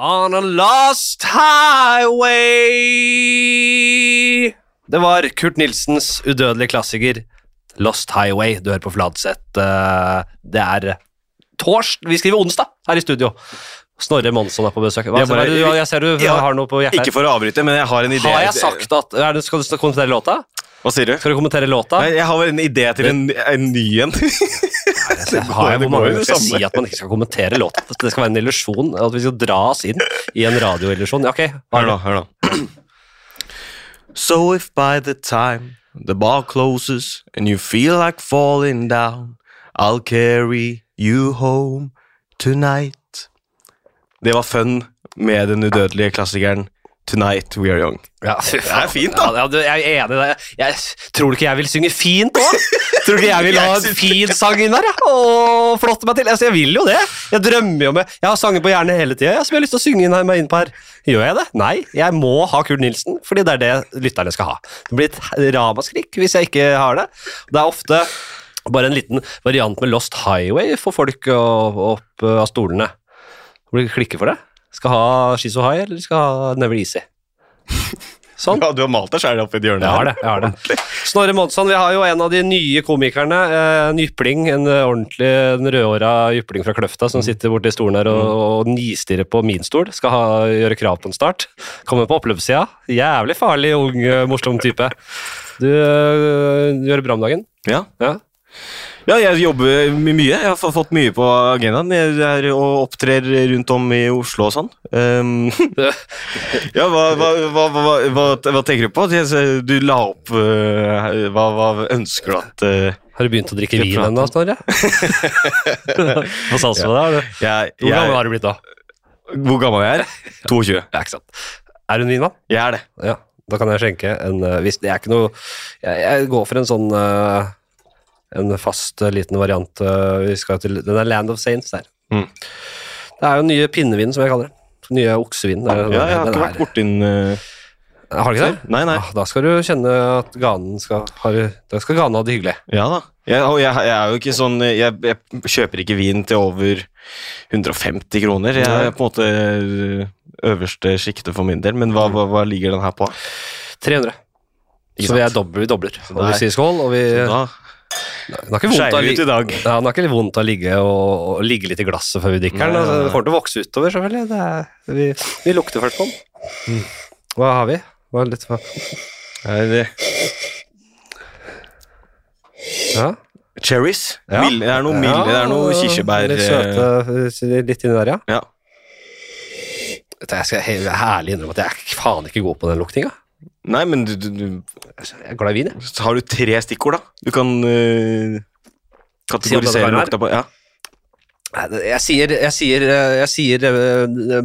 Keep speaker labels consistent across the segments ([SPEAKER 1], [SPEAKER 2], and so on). [SPEAKER 1] On a lost highway. Det var Kurt Nilsens udødelige klassiker Lost Highway. Du hører på Fladseth. Eh, Det er torsdag Vi skriver onsdag her i studio. Snorre Monsson er på besøk. Hva,
[SPEAKER 2] Jeg
[SPEAKER 1] hva
[SPEAKER 2] bare-
[SPEAKER 1] er det du, jeg ser du
[SPEAKER 2] Ja.
[SPEAKER 1] har noe på hjertet.
[SPEAKER 2] Ikke for å avbryte, men jeg har en idé.
[SPEAKER 1] Har jeg sagt at er det, Skal du kommentere låta?
[SPEAKER 2] Hva sier du?
[SPEAKER 1] Skal du kommentere låta?
[SPEAKER 2] Nei, jeg har en idé til en, en ny en.
[SPEAKER 1] jeg har jeg,
[SPEAKER 2] det
[SPEAKER 1] hvor mange
[SPEAKER 2] går jo
[SPEAKER 1] ganger
[SPEAKER 2] det
[SPEAKER 1] skal jeg
[SPEAKER 2] samme.
[SPEAKER 1] si at man ikke skal kommentere låta? At Det skal være en illusjon. At vi skal dra oss inn i en radioillusjon. Ja, ok. hva er
[SPEAKER 2] Hør nå,
[SPEAKER 1] det?
[SPEAKER 2] hør nå. So if by the time the bar closes and you feel like falling down, I'll carry you home tonight. Det var fun med den udødelige klassikeren Tonight We Are Young.
[SPEAKER 1] Ja, fy faen.
[SPEAKER 2] er fint, da.
[SPEAKER 1] Ja, ja, du, jeg er enig i det. Jeg, tror du ikke jeg vil synge fint òg? Tror du ikke jeg vil ha
[SPEAKER 2] Jeg
[SPEAKER 1] en
[SPEAKER 2] synes-
[SPEAKER 1] fin sang inn der? ja, Og flotte meg til? Altså, jeg vil jo det. Jeg drømmer jo med Jeg har sanger på hjernen hele tida som jeg har lyst til å synge inn her, meg inn på her. Gjør jeg det? Nei. Jeg må ha Kurt Nilsen, fordi det er det lytterne skal ha. Det blir et ramaskrik hvis jeg ikke har det. Det er ofte bare en liten variant med Lost Highway for folk å- opp av stolene. Blir det klikke for det? Skal ha She's So High, eller skal ha Never Easy? Sånn.
[SPEAKER 2] Ja, du har malt deg sjæl opp i et hjørne.
[SPEAKER 1] Jeg har
[SPEAKER 2] her.
[SPEAKER 1] det. jeg har det. Snorre Monsson, vi har jo en av de nye komikerne. eh, En jypling, en eh, ordentlig en rødhåra jypling fra Kløfta som sitter borti stolen her og, og nistirrer på min stol. Skal ha, gjøre krav på den snart. Kommer på oppløpssida. Jævlig farlig ung, eh, morsom type. Du eh, gjør det bra om dagen?
[SPEAKER 2] Ja.
[SPEAKER 1] Ja.
[SPEAKER 2] Ja, jeg jobber my- mye. Jeg har fa- fått mye på agendaen. Jeg er og opptrer rundt om i Oslo og sånn. Ehm, ja, hva, hva, hva, hva, hva, hva tenker du på? Jeg- Du la opp eh, hva, hva ønsker du at eh,
[SPEAKER 1] Har du begynt å drikke
[SPEAKER 2] Skal jeg
[SPEAKER 1] vin
[SPEAKER 2] prate?
[SPEAKER 1] ennå, Snorre? Hva sa du med deg?
[SPEAKER 2] jeg,
[SPEAKER 1] Hvor gammel
[SPEAKER 2] jeg,
[SPEAKER 1] har du blitt da?
[SPEAKER 2] Hvor gammel jeg er? 22.
[SPEAKER 1] Ja, ikke sant. Er du en vinmann?
[SPEAKER 2] Jeg er det.
[SPEAKER 1] Ja, da kan jeg skjenke en eh, hvis Det er ikke noe Jeg, jeg går for en sånn eh, En fast eh, liten variant eh, Vi skal til Den er Land of Saints der
[SPEAKER 2] Mm.
[SPEAKER 1] Det er jo nye pinnevin som jeg kaller det Nye oksevin
[SPEAKER 2] Ja, jeg har ikke vært borti den eh,
[SPEAKER 1] Har du ikke det?
[SPEAKER 2] Nei, nei.
[SPEAKER 1] Ah, Da skal du kjenne at ganen skal har, du- Da skal ganen ha det hyggelig
[SPEAKER 2] Ja da. Jeg, og jeg, jeg er jo ikke sånn jeg, jeg kjøper ikke vin til over 150 kroner. Jeg er på en måte eh, øverste sjiktet for min del, men hva, hva, hva ligger den her på?
[SPEAKER 1] 300
[SPEAKER 2] Ikke
[SPEAKER 1] Så vi, er
[SPEAKER 2] sant?
[SPEAKER 1] dobbel, vi dobler Og
[SPEAKER 2] der-
[SPEAKER 1] vi sier skål Og vi
[SPEAKER 2] Da
[SPEAKER 1] Den har ikke vondt av å
[SPEAKER 2] skeier vi ut
[SPEAKER 1] ligge
[SPEAKER 2] i dag.
[SPEAKER 1] ja, den har ikke vondt av å ligge og, og ligge litt i glasset før vi drikker den.
[SPEAKER 2] Nei,
[SPEAKER 1] Altså,
[SPEAKER 2] nei, nei.
[SPEAKER 1] det kommer til å vokse utover, selvfølgelig. Det er, vi, vi lukter først på den.
[SPEAKER 2] Mm.
[SPEAKER 1] Hva har vi? Hva er litt, hva?
[SPEAKER 2] Er det
[SPEAKER 1] Ja.
[SPEAKER 2] cherries?
[SPEAKER 1] Ja.
[SPEAKER 2] Mild, det er noe milde, det er noe kirsebær
[SPEAKER 1] Litt
[SPEAKER 2] eh,
[SPEAKER 1] søte litt inni der, ja.
[SPEAKER 2] Ja.
[SPEAKER 1] Vet du, Jeg skal he- ærlig innrømme at jeg er faen ikke god på den luktinga.
[SPEAKER 2] Nei, men du, du, du,
[SPEAKER 1] Jeg er glad i vin, jeg.
[SPEAKER 2] så har du tre stikkord, da? Du kan eh,
[SPEAKER 1] Si opp denne
[SPEAKER 2] kategorisere
[SPEAKER 1] karen her.
[SPEAKER 2] lukta på Ja.
[SPEAKER 1] Nei, det- Jeg sier Jeg sier, eh, jeg sier eh, eh,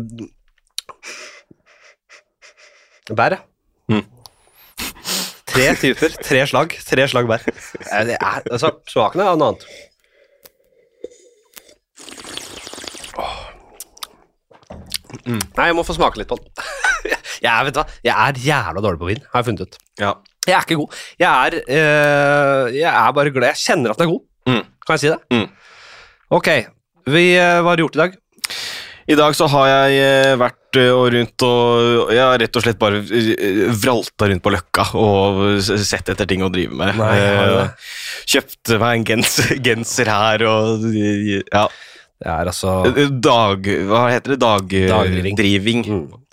[SPEAKER 1] Bær, ja.
[SPEAKER 2] Mm.
[SPEAKER 1] Tre typer, tre slag. Tre slag bær. Nei, Det er, altså, smaken er noe annet. Åh. Nei, jeg må få smake litt på den. Jeg er, vet du hva, jeg er jævla dårlig på vin, har jeg funnet ut.
[SPEAKER 2] ja.
[SPEAKER 1] Jeg er ikke god. Jeg er, eh, jeg er bare glad. Jeg kjenner at den er god.
[SPEAKER 2] Mm.
[SPEAKER 1] Kan jeg si det?
[SPEAKER 2] Mm.
[SPEAKER 1] Ok, vi, eh, hva har du gjort i dag?
[SPEAKER 2] I dag så har jeg eh, vært eh, og rundt og Jeg har rett og slett bare eh, vralta rundt på Løkka og s- sett etter ting å drive med.
[SPEAKER 1] Nei, har du det?
[SPEAKER 2] Eh, Kjøpte meg en genser, genser her og Ja. Eh,
[SPEAKER 1] Det er altså
[SPEAKER 2] Dag... eh, Hva heter det?
[SPEAKER 1] Dagdriving.
[SPEAKER 2] Dagdriving.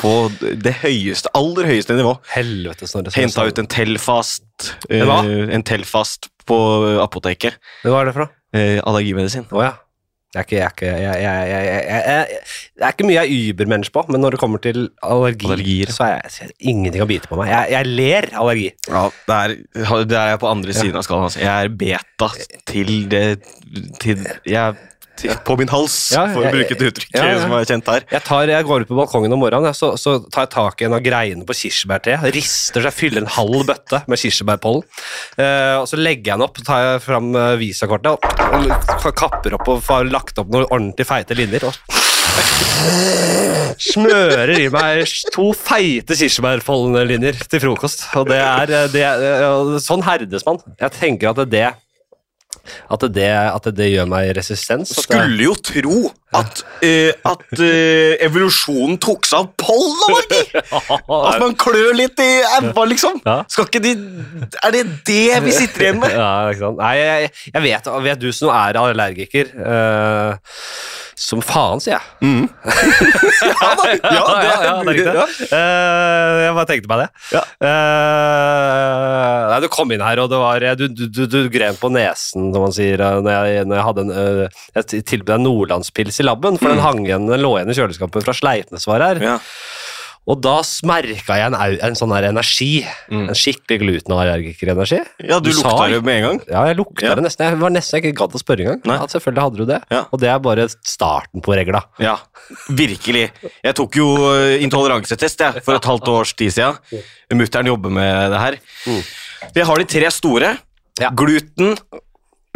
[SPEAKER 2] På det høyeste, aller høyeste nivå.
[SPEAKER 1] Helvete, Snorre. som jeg
[SPEAKER 2] Henta
[SPEAKER 1] sa.
[SPEAKER 2] ut en Telfast. eh,
[SPEAKER 1] En hva?
[SPEAKER 2] En Telfast på eh, apoteket.
[SPEAKER 1] Men Hva er det for noe?
[SPEAKER 2] Eh, Allergimedisin.
[SPEAKER 1] Å ja. Det er ikke, jeg er ikke, jeg, jeg, jeg, jeg, jeg, jeg, det er ikke mye jeg er Uber-menneske på, men når det kommer til allergi,
[SPEAKER 2] Allergier.
[SPEAKER 1] så er jeg, så er det ingenting å bite på meg. Jeg, jeg ler allergi.
[SPEAKER 2] Ja, det er, det er jeg på andre siden av skalaen. Altså. Jeg er beta til det til, jeg, til, På min hals,
[SPEAKER 1] Ja,
[SPEAKER 2] for
[SPEAKER 1] jeg-
[SPEAKER 2] å bruke et uttrykk
[SPEAKER 1] ja, ja.
[SPEAKER 2] som er kjent her.
[SPEAKER 1] Jeg, tar, jeg går ut på balkongen om morgenen, jeg, så, så tar jeg tak i en av greiene på kirsebærtreet, rister seg, fyller en halv bøtte med kirsebærpollen, eh, og så legger jeg den opp, tar jeg fram eh, visakortet og, og kapper opp og har lagt opp noen ordentlig feite linjer. Og smører i meg to feite kirsebærpollenlinjer til frokost. Og det er, eh, det er eh, Sånn herdes man. Jeg tenker at det At det, at det gjør meg resistens. At jeg-
[SPEAKER 2] Skulle jo tro at, eh, at eh, evolusjonen tok seg av pollenallergi! At man klør litt i æva, liksom.
[SPEAKER 1] Ja.
[SPEAKER 2] Skal ikke de Er det det vi sitter igjen med?
[SPEAKER 1] Ja, ikke sant? Nei, jeg, jeg vet, jeg vet du som er allergiker. eh, som faen, sier jeg.
[SPEAKER 2] Ja, da. ja, det
[SPEAKER 1] Ja,
[SPEAKER 2] er
[SPEAKER 1] ja,
[SPEAKER 2] mulig.
[SPEAKER 1] riktig.
[SPEAKER 2] Ja.
[SPEAKER 1] Eh, jeg bare tenkte meg det.
[SPEAKER 2] Ja.
[SPEAKER 1] Eh, nei, du kom inn her, og det var, eh, du, du, du, du gren på nesen, som man sier. eh, Når jeg, når jeg hadde en, eh, jeg t- tilbød deg nordlandspils i labben, for den, hang igjen, den lå igjen i kjøleskapet fra Sleipnes var her.
[SPEAKER 2] Mm. Ja.
[SPEAKER 1] Og da merka jeg en, au- en sånn her energi.
[SPEAKER 2] Mm.
[SPEAKER 1] En skikkelig glutenallergikerenergi.
[SPEAKER 2] ja, du,
[SPEAKER 1] sa
[SPEAKER 2] lukta
[SPEAKER 1] ikke-
[SPEAKER 2] det med en gang.
[SPEAKER 1] ja, jeg lukta
[SPEAKER 2] Ja.
[SPEAKER 1] det nesten. Jeg var nesten jeg ikke gadd å spørre engang.
[SPEAKER 2] Nei.
[SPEAKER 1] Ja, selvfølgelig hadde du det.
[SPEAKER 2] Ja.
[SPEAKER 1] Og det er bare starten på regla.
[SPEAKER 2] Ja, virkelig. Jeg tok jo eh, intoleransetest jeg, for et halvt års tid siden. Mutter'n jobber med det her. Jeg har de tre store.
[SPEAKER 1] Ja.
[SPEAKER 2] Gluten,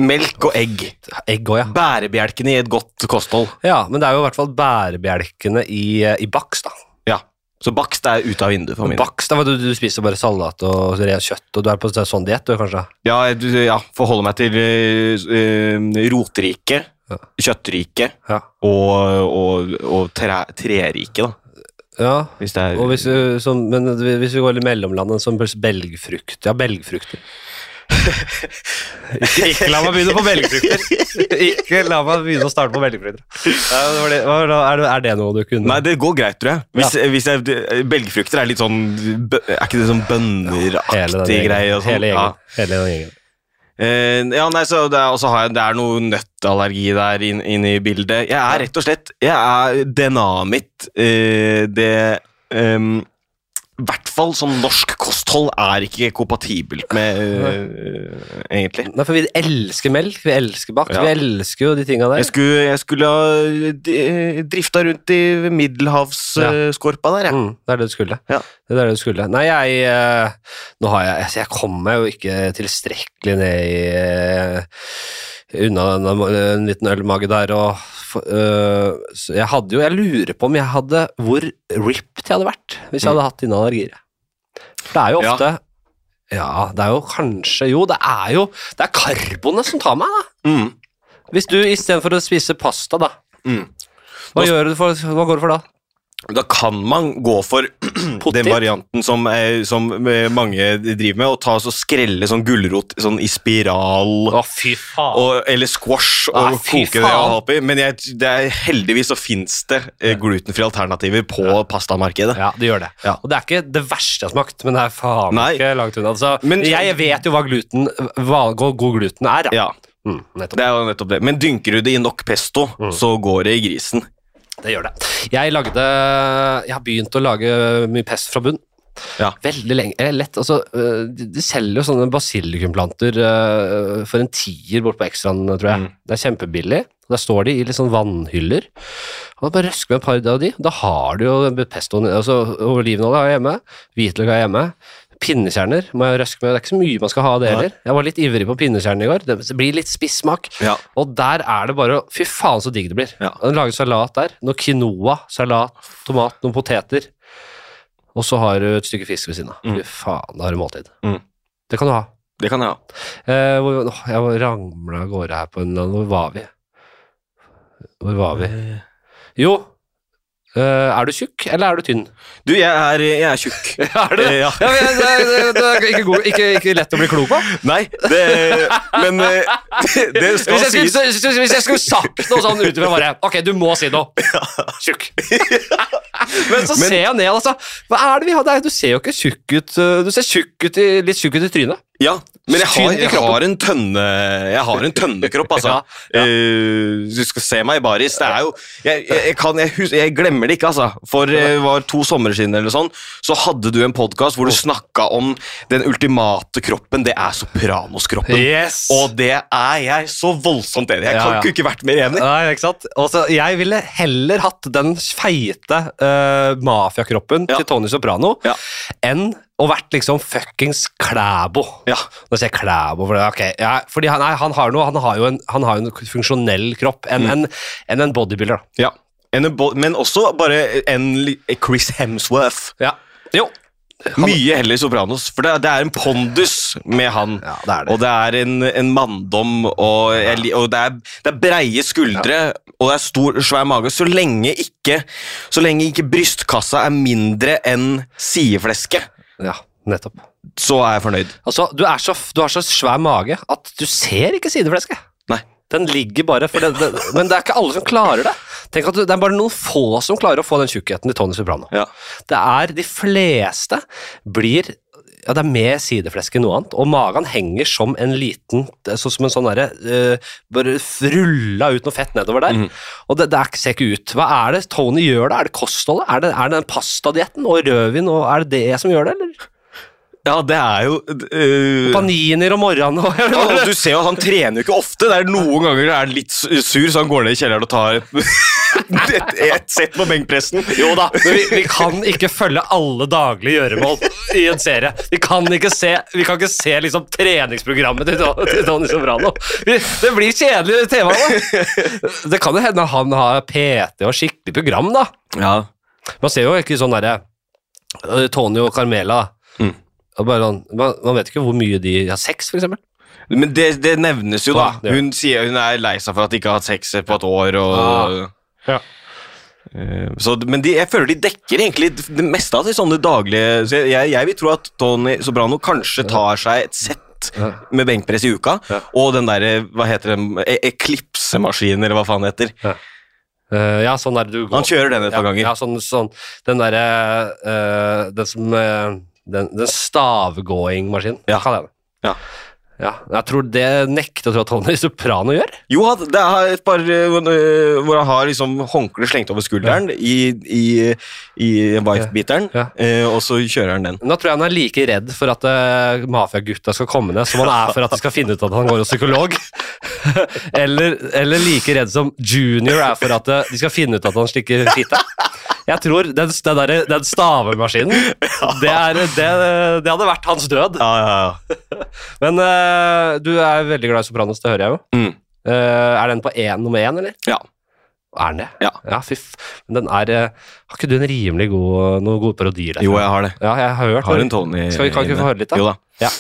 [SPEAKER 2] melk og egg.
[SPEAKER 1] Egg òg, ja.
[SPEAKER 2] Bærebjelkene i et godt kosthold.
[SPEAKER 1] ja. Men det er jo i hvert fall bærebjelkene i, eh, i bakst, da.
[SPEAKER 2] Ja. Så bakst er ute av vinduet for min del.
[SPEAKER 1] Bakst, da, du, du spiser bare salat og re- kjøtt, og du er på en sånn diett, du, kanskje?
[SPEAKER 2] Ja, du, ja forholder meg til eh, eh, rotrike, kjøttrike
[SPEAKER 1] Ja.
[SPEAKER 2] og, og, og tre, trerike, da.
[SPEAKER 1] ja.
[SPEAKER 2] Hvis det er
[SPEAKER 1] Og hvis, du- som, men hvis vi går i mellomlandet, som belgfrukt Ja, belgfrukter. ikke, ikke la meg begynne på belgfrukter. Ikke la meg begynne å starte på belgfrukter. Ja, det var det- hva- hva- Er det, er det noe du kunne
[SPEAKER 2] Nei, det går greit, tror jeg. Hvis, hvis jeg belgfrukter er litt sånn bø- Er ikke det sånn
[SPEAKER 1] Hele den
[SPEAKER 2] bønneraktig
[SPEAKER 1] gjengen.
[SPEAKER 2] greie og sånn?
[SPEAKER 1] Hele
[SPEAKER 2] Ja.
[SPEAKER 1] gjengen. Hele den gjengen.
[SPEAKER 2] Eh, ja, nei, så det er, og så har jeg, det er noe nøttallergi der inn- inne i bildet. Jeg er rett og slett Jeg er DNA-et mitt. eh, det ehm, I hvert fall sånn norsk kosthold er ikke kompatibelt med eh, egentlig.
[SPEAKER 1] Nei, for vi elsker melk, vi elsker bakt,
[SPEAKER 2] Ja.
[SPEAKER 1] vi elsker jo de tinga
[SPEAKER 2] Jeg
[SPEAKER 1] der.
[SPEAKER 2] skulle, jeg skulle ha eh, drifta rundt i middelhavsskorpa der, jeg.
[SPEAKER 1] Mm, det er det du skulle.
[SPEAKER 2] Ja.
[SPEAKER 1] Det er det du skulle. Nei, jeg eh, Nå har jeg altså, Jeg kommer meg jo ikke tilstrekkelig ned i eh, Unna en, en liten ølmage der og f- eh, så Jeg hadde jo Jeg lurer på om jeg hadde Hvor ripped jeg hadde vært hvis jeg hadde hatt dine allergier. For det er jo
[SPEAKER 2] Mm. Ja.
[SPEAKER 1] ofte ja, det er jo kanskje Jo, det er jo Det er karbonet som tar meg, da.
[SPEAKER 2] Mm.
[SPEAKER 1] Hvis du istedenfor å spise pasta, da,
[SPEAKER 2] Mm.
[SPEAKER 1] hva,
[SPEAKER 2] Da-
[SPEAKER 1] gjør du for, hva går du for da?
[SPEAKER 2] Da kan man gå for den varianten som, eh, som eh, mange driver med, og ta og så skrelle sånn gulrot sånn i spiral.
[SPEAKER 1] Å, fy faen.
[SPEAKER 2] og, eller squash og
[SPEAKER 1] Ah. Nei, fy
[SPEAKER 2] koke det og
[SPEAKER 1] faen.
[SPEAKER 2] ha oppi. Men jeg, det er, heldigvis så fins det eh, glutenfrie alternativer på pastamarkedet.
[SPEAKER 1] ja, det gjør det.
[SPEAKER 2] Ja.
[SPEAKER 1] Og det er ikke det verste jeg har smakt, men det er faen
[SPEAKER 2] Nei.
[SPEAKER 1] ikke langt unna. Altså,
[SPEAKER 2] Men-
[SPEAKER 1] jeg vet jo hva, gluten, hva god god gluten er. da.
[SPEAKER 2] Ja,
[SPEAKER 1] Mm, nettopp.
[SPEAKER 2] det er jo nettopp det. Men dynker du det i nok pesto,
[SPEAKER 1] Mm.
[SPEAKER 2] så går det i grisen.
[SPEAKER 1] Det gjør det. Jeg lagde Jeg har begynt å lage mye pest fra bunn.
[SPEAKER 2] Ja.
[SPEAKER 1] Veldig lenge. eh, Lett. Altså, øh, de de selger jo sånne basilikumplanter øh, for en tier bort på Ekstraen, tror
[SPEAKER 2] Mm.
[SPEAKER 1] jeg. Det er kjempebillig. Der står de i litt sånn vannhyller. Og bare røsk med et par av de. Da har du jo pestoen altså, Olivenolje har jeg hjemme. Hvitløk har jeg hjemme. Pinnekjerner må jeg røske med. Det er ikke så mye man skal ha av det
[SPEAKER 2] Nei.
[SPEAKER 1] heller. Jeg var litt ivrig på pinnekjernen i går. Det blir litt spissmak.
[SPEAKER 2] Ja.
[SPEAKER 1] Og der er det bare å- Fy faen, så digg det blir.
[SPEAKER 2] Ja.
[SPEAKER 1] Og Lage salat der. Noe quinoa, salat, tomat, noen poteter. Og så har du et stykke fisk ved siden av. Fy faen, da har du måltid.
[SPEAKER 2] Mm.
[SPEAKER 1] Det kan du ha.
[SPEAKER 2] Det kan jeg ha.
[SPEAKER 1] Eh, hvor, åh, jeg ramla av gårde her på en eller annen Hvor var vi? Hvor var vi? Jo, eh, er du tjukk, eller er du tynn?
[SPEAKER 2] Du, jeg er, jeg er tjukk.
[SPEAKER 1] Er
[SPEAKER 2] Eh, Ja.
[SPEAKER 1] Ja, men det, det, det er ikke, god, ikke, ikke lett å bli klok på.
[SPEAKER 2] Nei, det, men eh, det skal
[SPEAKER 1] Hvis jeg,
[SPEAKER 2] sies.
[SPEAKER 1] skulle, hvis- hvis jeg skulle sagt noe sånn ut ifra bare Ok, du må si noe. Tjukk. Men så
[SPEAKER 2] Men-
[SPEAKER 1] ser jeg ned, altså. Hva er det vi har der? Du ser jo ikke tjukk ut. øh, Du ser tjukk ut i, litt tjukk ut i trynet.
[SPEAKER 2] Ja, men jeg har,
[SPEAKER 1] Tynn i
[SPEAKER 2] jeg
[SPEAKER 1] kroppen.
[SPEAKER 2] har en tønne Jeg har en tønnekropp, altså.
[SPEAKER 1] Ja, ja.
[SPEAKER 2] Eh, du skal se meg i baris. Det er jo Jeg, jeg, jeg, kan, jeg, hus, jeg glemmer det ikke, altså. For eh, var to somre siden eller sånn, så hadde du en podkast hvor du snakka om den ultimate kroppen. Det er sopranoskroppen.
[SPEAKER 1] Yes.
[SPEAKER 2] Og det er jeg så voldsomt enig i. Jeg
[SPEAKER 1] Ja,
[SPEAKER 2] kan
[SPEAKER 1] ja.
[SPEAKER 2] ikke- ikke vært mer enig.
[SPEAKER 1] Nei, ikke sant? Altså, jeg ville heller hatt den feite uh, mafiakroppen
[SPEAKER 2] Ja.
[SPEAKER 1] til Tony Soprano
[SPEAKER 2] Ja.
[SPEAKER 1] enn å vært liksom fuckings Klæbo.
[SPEAKER 2] Ja.
[SPEAKER 1] Nå sier jeg Klæbo, for, det, ok, ja, fordi han, nei, han, har noe, han har jo en, han har jo en funksjonell kropp enn en, enn en bodybuilder. da.
[SPEAKER 2] Ja. En, bo- men også bare en li- Chris Hemsworth.
[SPEAKER 1] Ja. Jo,
[SPEAKER 2] Mye heller Sopranos, for det er, det er en pondus med han.
[SPEAKER 1] Ja, det er det.
[SPEAKER 2] Og det er en, en manndom, og, jeg, li- og det, er, det er breie skuldre, og det er stor, svær mage. Så lenge ikke, så lenge ikke brystkassa er mindre enn sideflesket,
[SPEAKER 1] Ja, nettopp.
[SPEAKER 2] så er jeg fornøyd.
[SPEAKER 1] Altså, du, er så, du har så svær mage at du ser ikke sideflesket.
[SPEAKER 2] Nei.
[SPEAKER 1] Den ligger bare for det, det, Men det er ikke alle som klarer det. Tenk at du, Det er bare noen få som klarer å få den tjukkheten til Tony Soprano.
[SPEAKER 2] Ja.
[SPEAKER 1] Det er De fleste blir ja, Det er mer sideflesk enn noe annet, og magen henger som en liten Sånn som en sånn derre eh, Bare rulla ut noe fett nedover der. Og det, det er, ikke- ser ikke ut. Hva er det Tony gjør da? Er det kostholdet? Er det, er det den pastadietten og rødvin og Er det det som gjør det, eller?
[SPEAKER 2] Ja, det er jo øh,
[SPEAKER 1] Paninier om morgenen og
[SPEAKER 2] ja, og Du ser jo at han trener jo ikke ofte. Det er Noen ganger er han litt su- sur, så han går ned i kjelleren og tar et, et, et sett på benkpressen.
[SPEAKER 1] Jo da, men vi, vi kan ikke følge alle daglige gjøremål i en serie. Vi kan ikke se, vi kan ikke se liksom treningsprogrammet til, Don- til Tony Soprano. Vi, det blir kjedelig tema. da. Det kan jo hende han har PT og skikkelig program, da.
[SPEAKER 2] Ja.
[SPEAKER 1] Man ser jo ikke sånn derre øh, Tony og Carmela.
[SPEAKER 2] Mm.
[SPEAKER 1] Og bare sånn, man, man vet ikke hvor mye de har sex, for eksempel.
[SPEAKER 2] Men det, det nevnes jo,
[SPEAKER 1] Ja,
[SPEAKER 2] da.
[SPEAKER 1] det gjør
[SPEAKER 2] Hun sier hun er lei seg for at de ikke har hatt sex på et år. Og,
[SPEAKER 1] Ah. Ja.
[SPEAKER 2] Eh, Så, men de, jeg føler de dekker egentlig det meste av de sånne daglige så jeg, jeg, jeg vil tro at Tony Sobrano kanskje tar seg et sett
[SPEAKER 1] Ja.
[SPEAKER 2] med benkpress i uka.
[SPEAKER 1] Ja.
[SPEAKER 2] Og den derre, hva heter den, e eklipsemaskinen, eller hva faen det heter.
[SPEAKER 1] Øh, ja, sånn der du går.
[SPEAKER 2] Han kjører den et par
[SPEAKER 1] ja,
[SPEAKER 2] ganger.
[SPEAKER 1] ja, sånn, sånn Den derre øh, Den som øh, Den, den stavgåingmaskinen,
[SPEAKER 2] Ja.
[SPEAKER 1] kaller jeg det.
[SPEAKER 2] Ja.
[SPEAKER 1] Ja, jeg tror det nekter jeg å tro at Tony Soprano gjør.
[SPEAKER 2] Jo, han- det er et par eh, hvor eh, hvor han har liksom håndkleet slengt over skulderen i, i, i wife-biteren,
[SPEAKER 1] Ja.
[SPEAKER 2] eh, og så kjører han den.
[SPEAKER 1] Nå tror jeg han er like redd for at uh, mafiagutta skal komme ned, som han er for at de skal finne ut at han går hos psykolog. eller, eller like redd som junior er for at eh, de skal finne ut at han slikker fitte. Jeg tror den, den, der, den stavemaskinen, det, er, det, det hadde vært hans død.
[SPEAKER 2] Ja, ja, ja.
[SPEAKER 1] Men eh, du er veldig glad i Sopranos, det hører jeg jo.
[SPEAKER 2] Mm.
[SPEAKER 1] Eh, er den på én nummer én, eller?
[SPEAKER 2] Ja.
[SPEAKER 1] Er den det?
[SPEAKER 2] Ja.
[SPEAKER 1] ja fy f... Men den er eh, Har ikke du en rimelig god Noen gode parodier der?
[SPEAKER 2] Jo, jeg har det.
[SPEAKER 1] Ja, jeg har hørt
[SPEAKER 2] Har en Tony
[SPEAKER 1] Skal vi kan ikke
[SPEAKER 2] inne.
[SPEAKER 1] få høre litt, da?
[SPEAKER 2] Jo da.
[SPEAKER 1] Ja.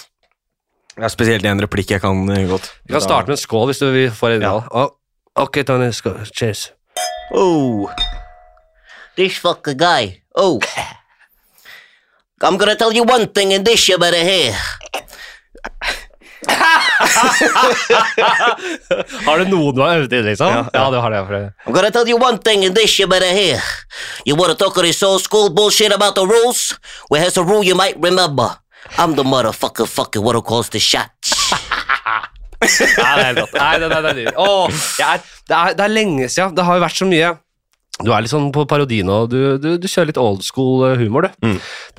[SPEAKER 2] Det er spesielt en replikk jeg kan eh, godt.
[SPEAKER 1] Vi kan starte med en skål hvis du vil få en innhold. Ok, Tony. Skål. Cheers.
[SPEAKER 3] Oh. This fucker guy. Oh. I'm gonna tell you one thing and this you better hear.
[SPEAKER 1] Har du noen du har øvd i, liksom? Ja, det har jeg. For det.
[SPEAKER 3] I'm gonna tell you one thing and this you better hear. You wanna talk all this old school bullshit about the rules? Well, here's a rule you might remember. I'm the motherfucker fucking what calls the shots.
[SPEAKER 1] Nei, det er helt rått. Nei, det, det, det er dyrt. Åh, jeg er, det, er, det er lenge siden. Det har jo vært så mye Du er litt sånn på parodi nå. Du, du, du kjører litt old school eh, humor, du.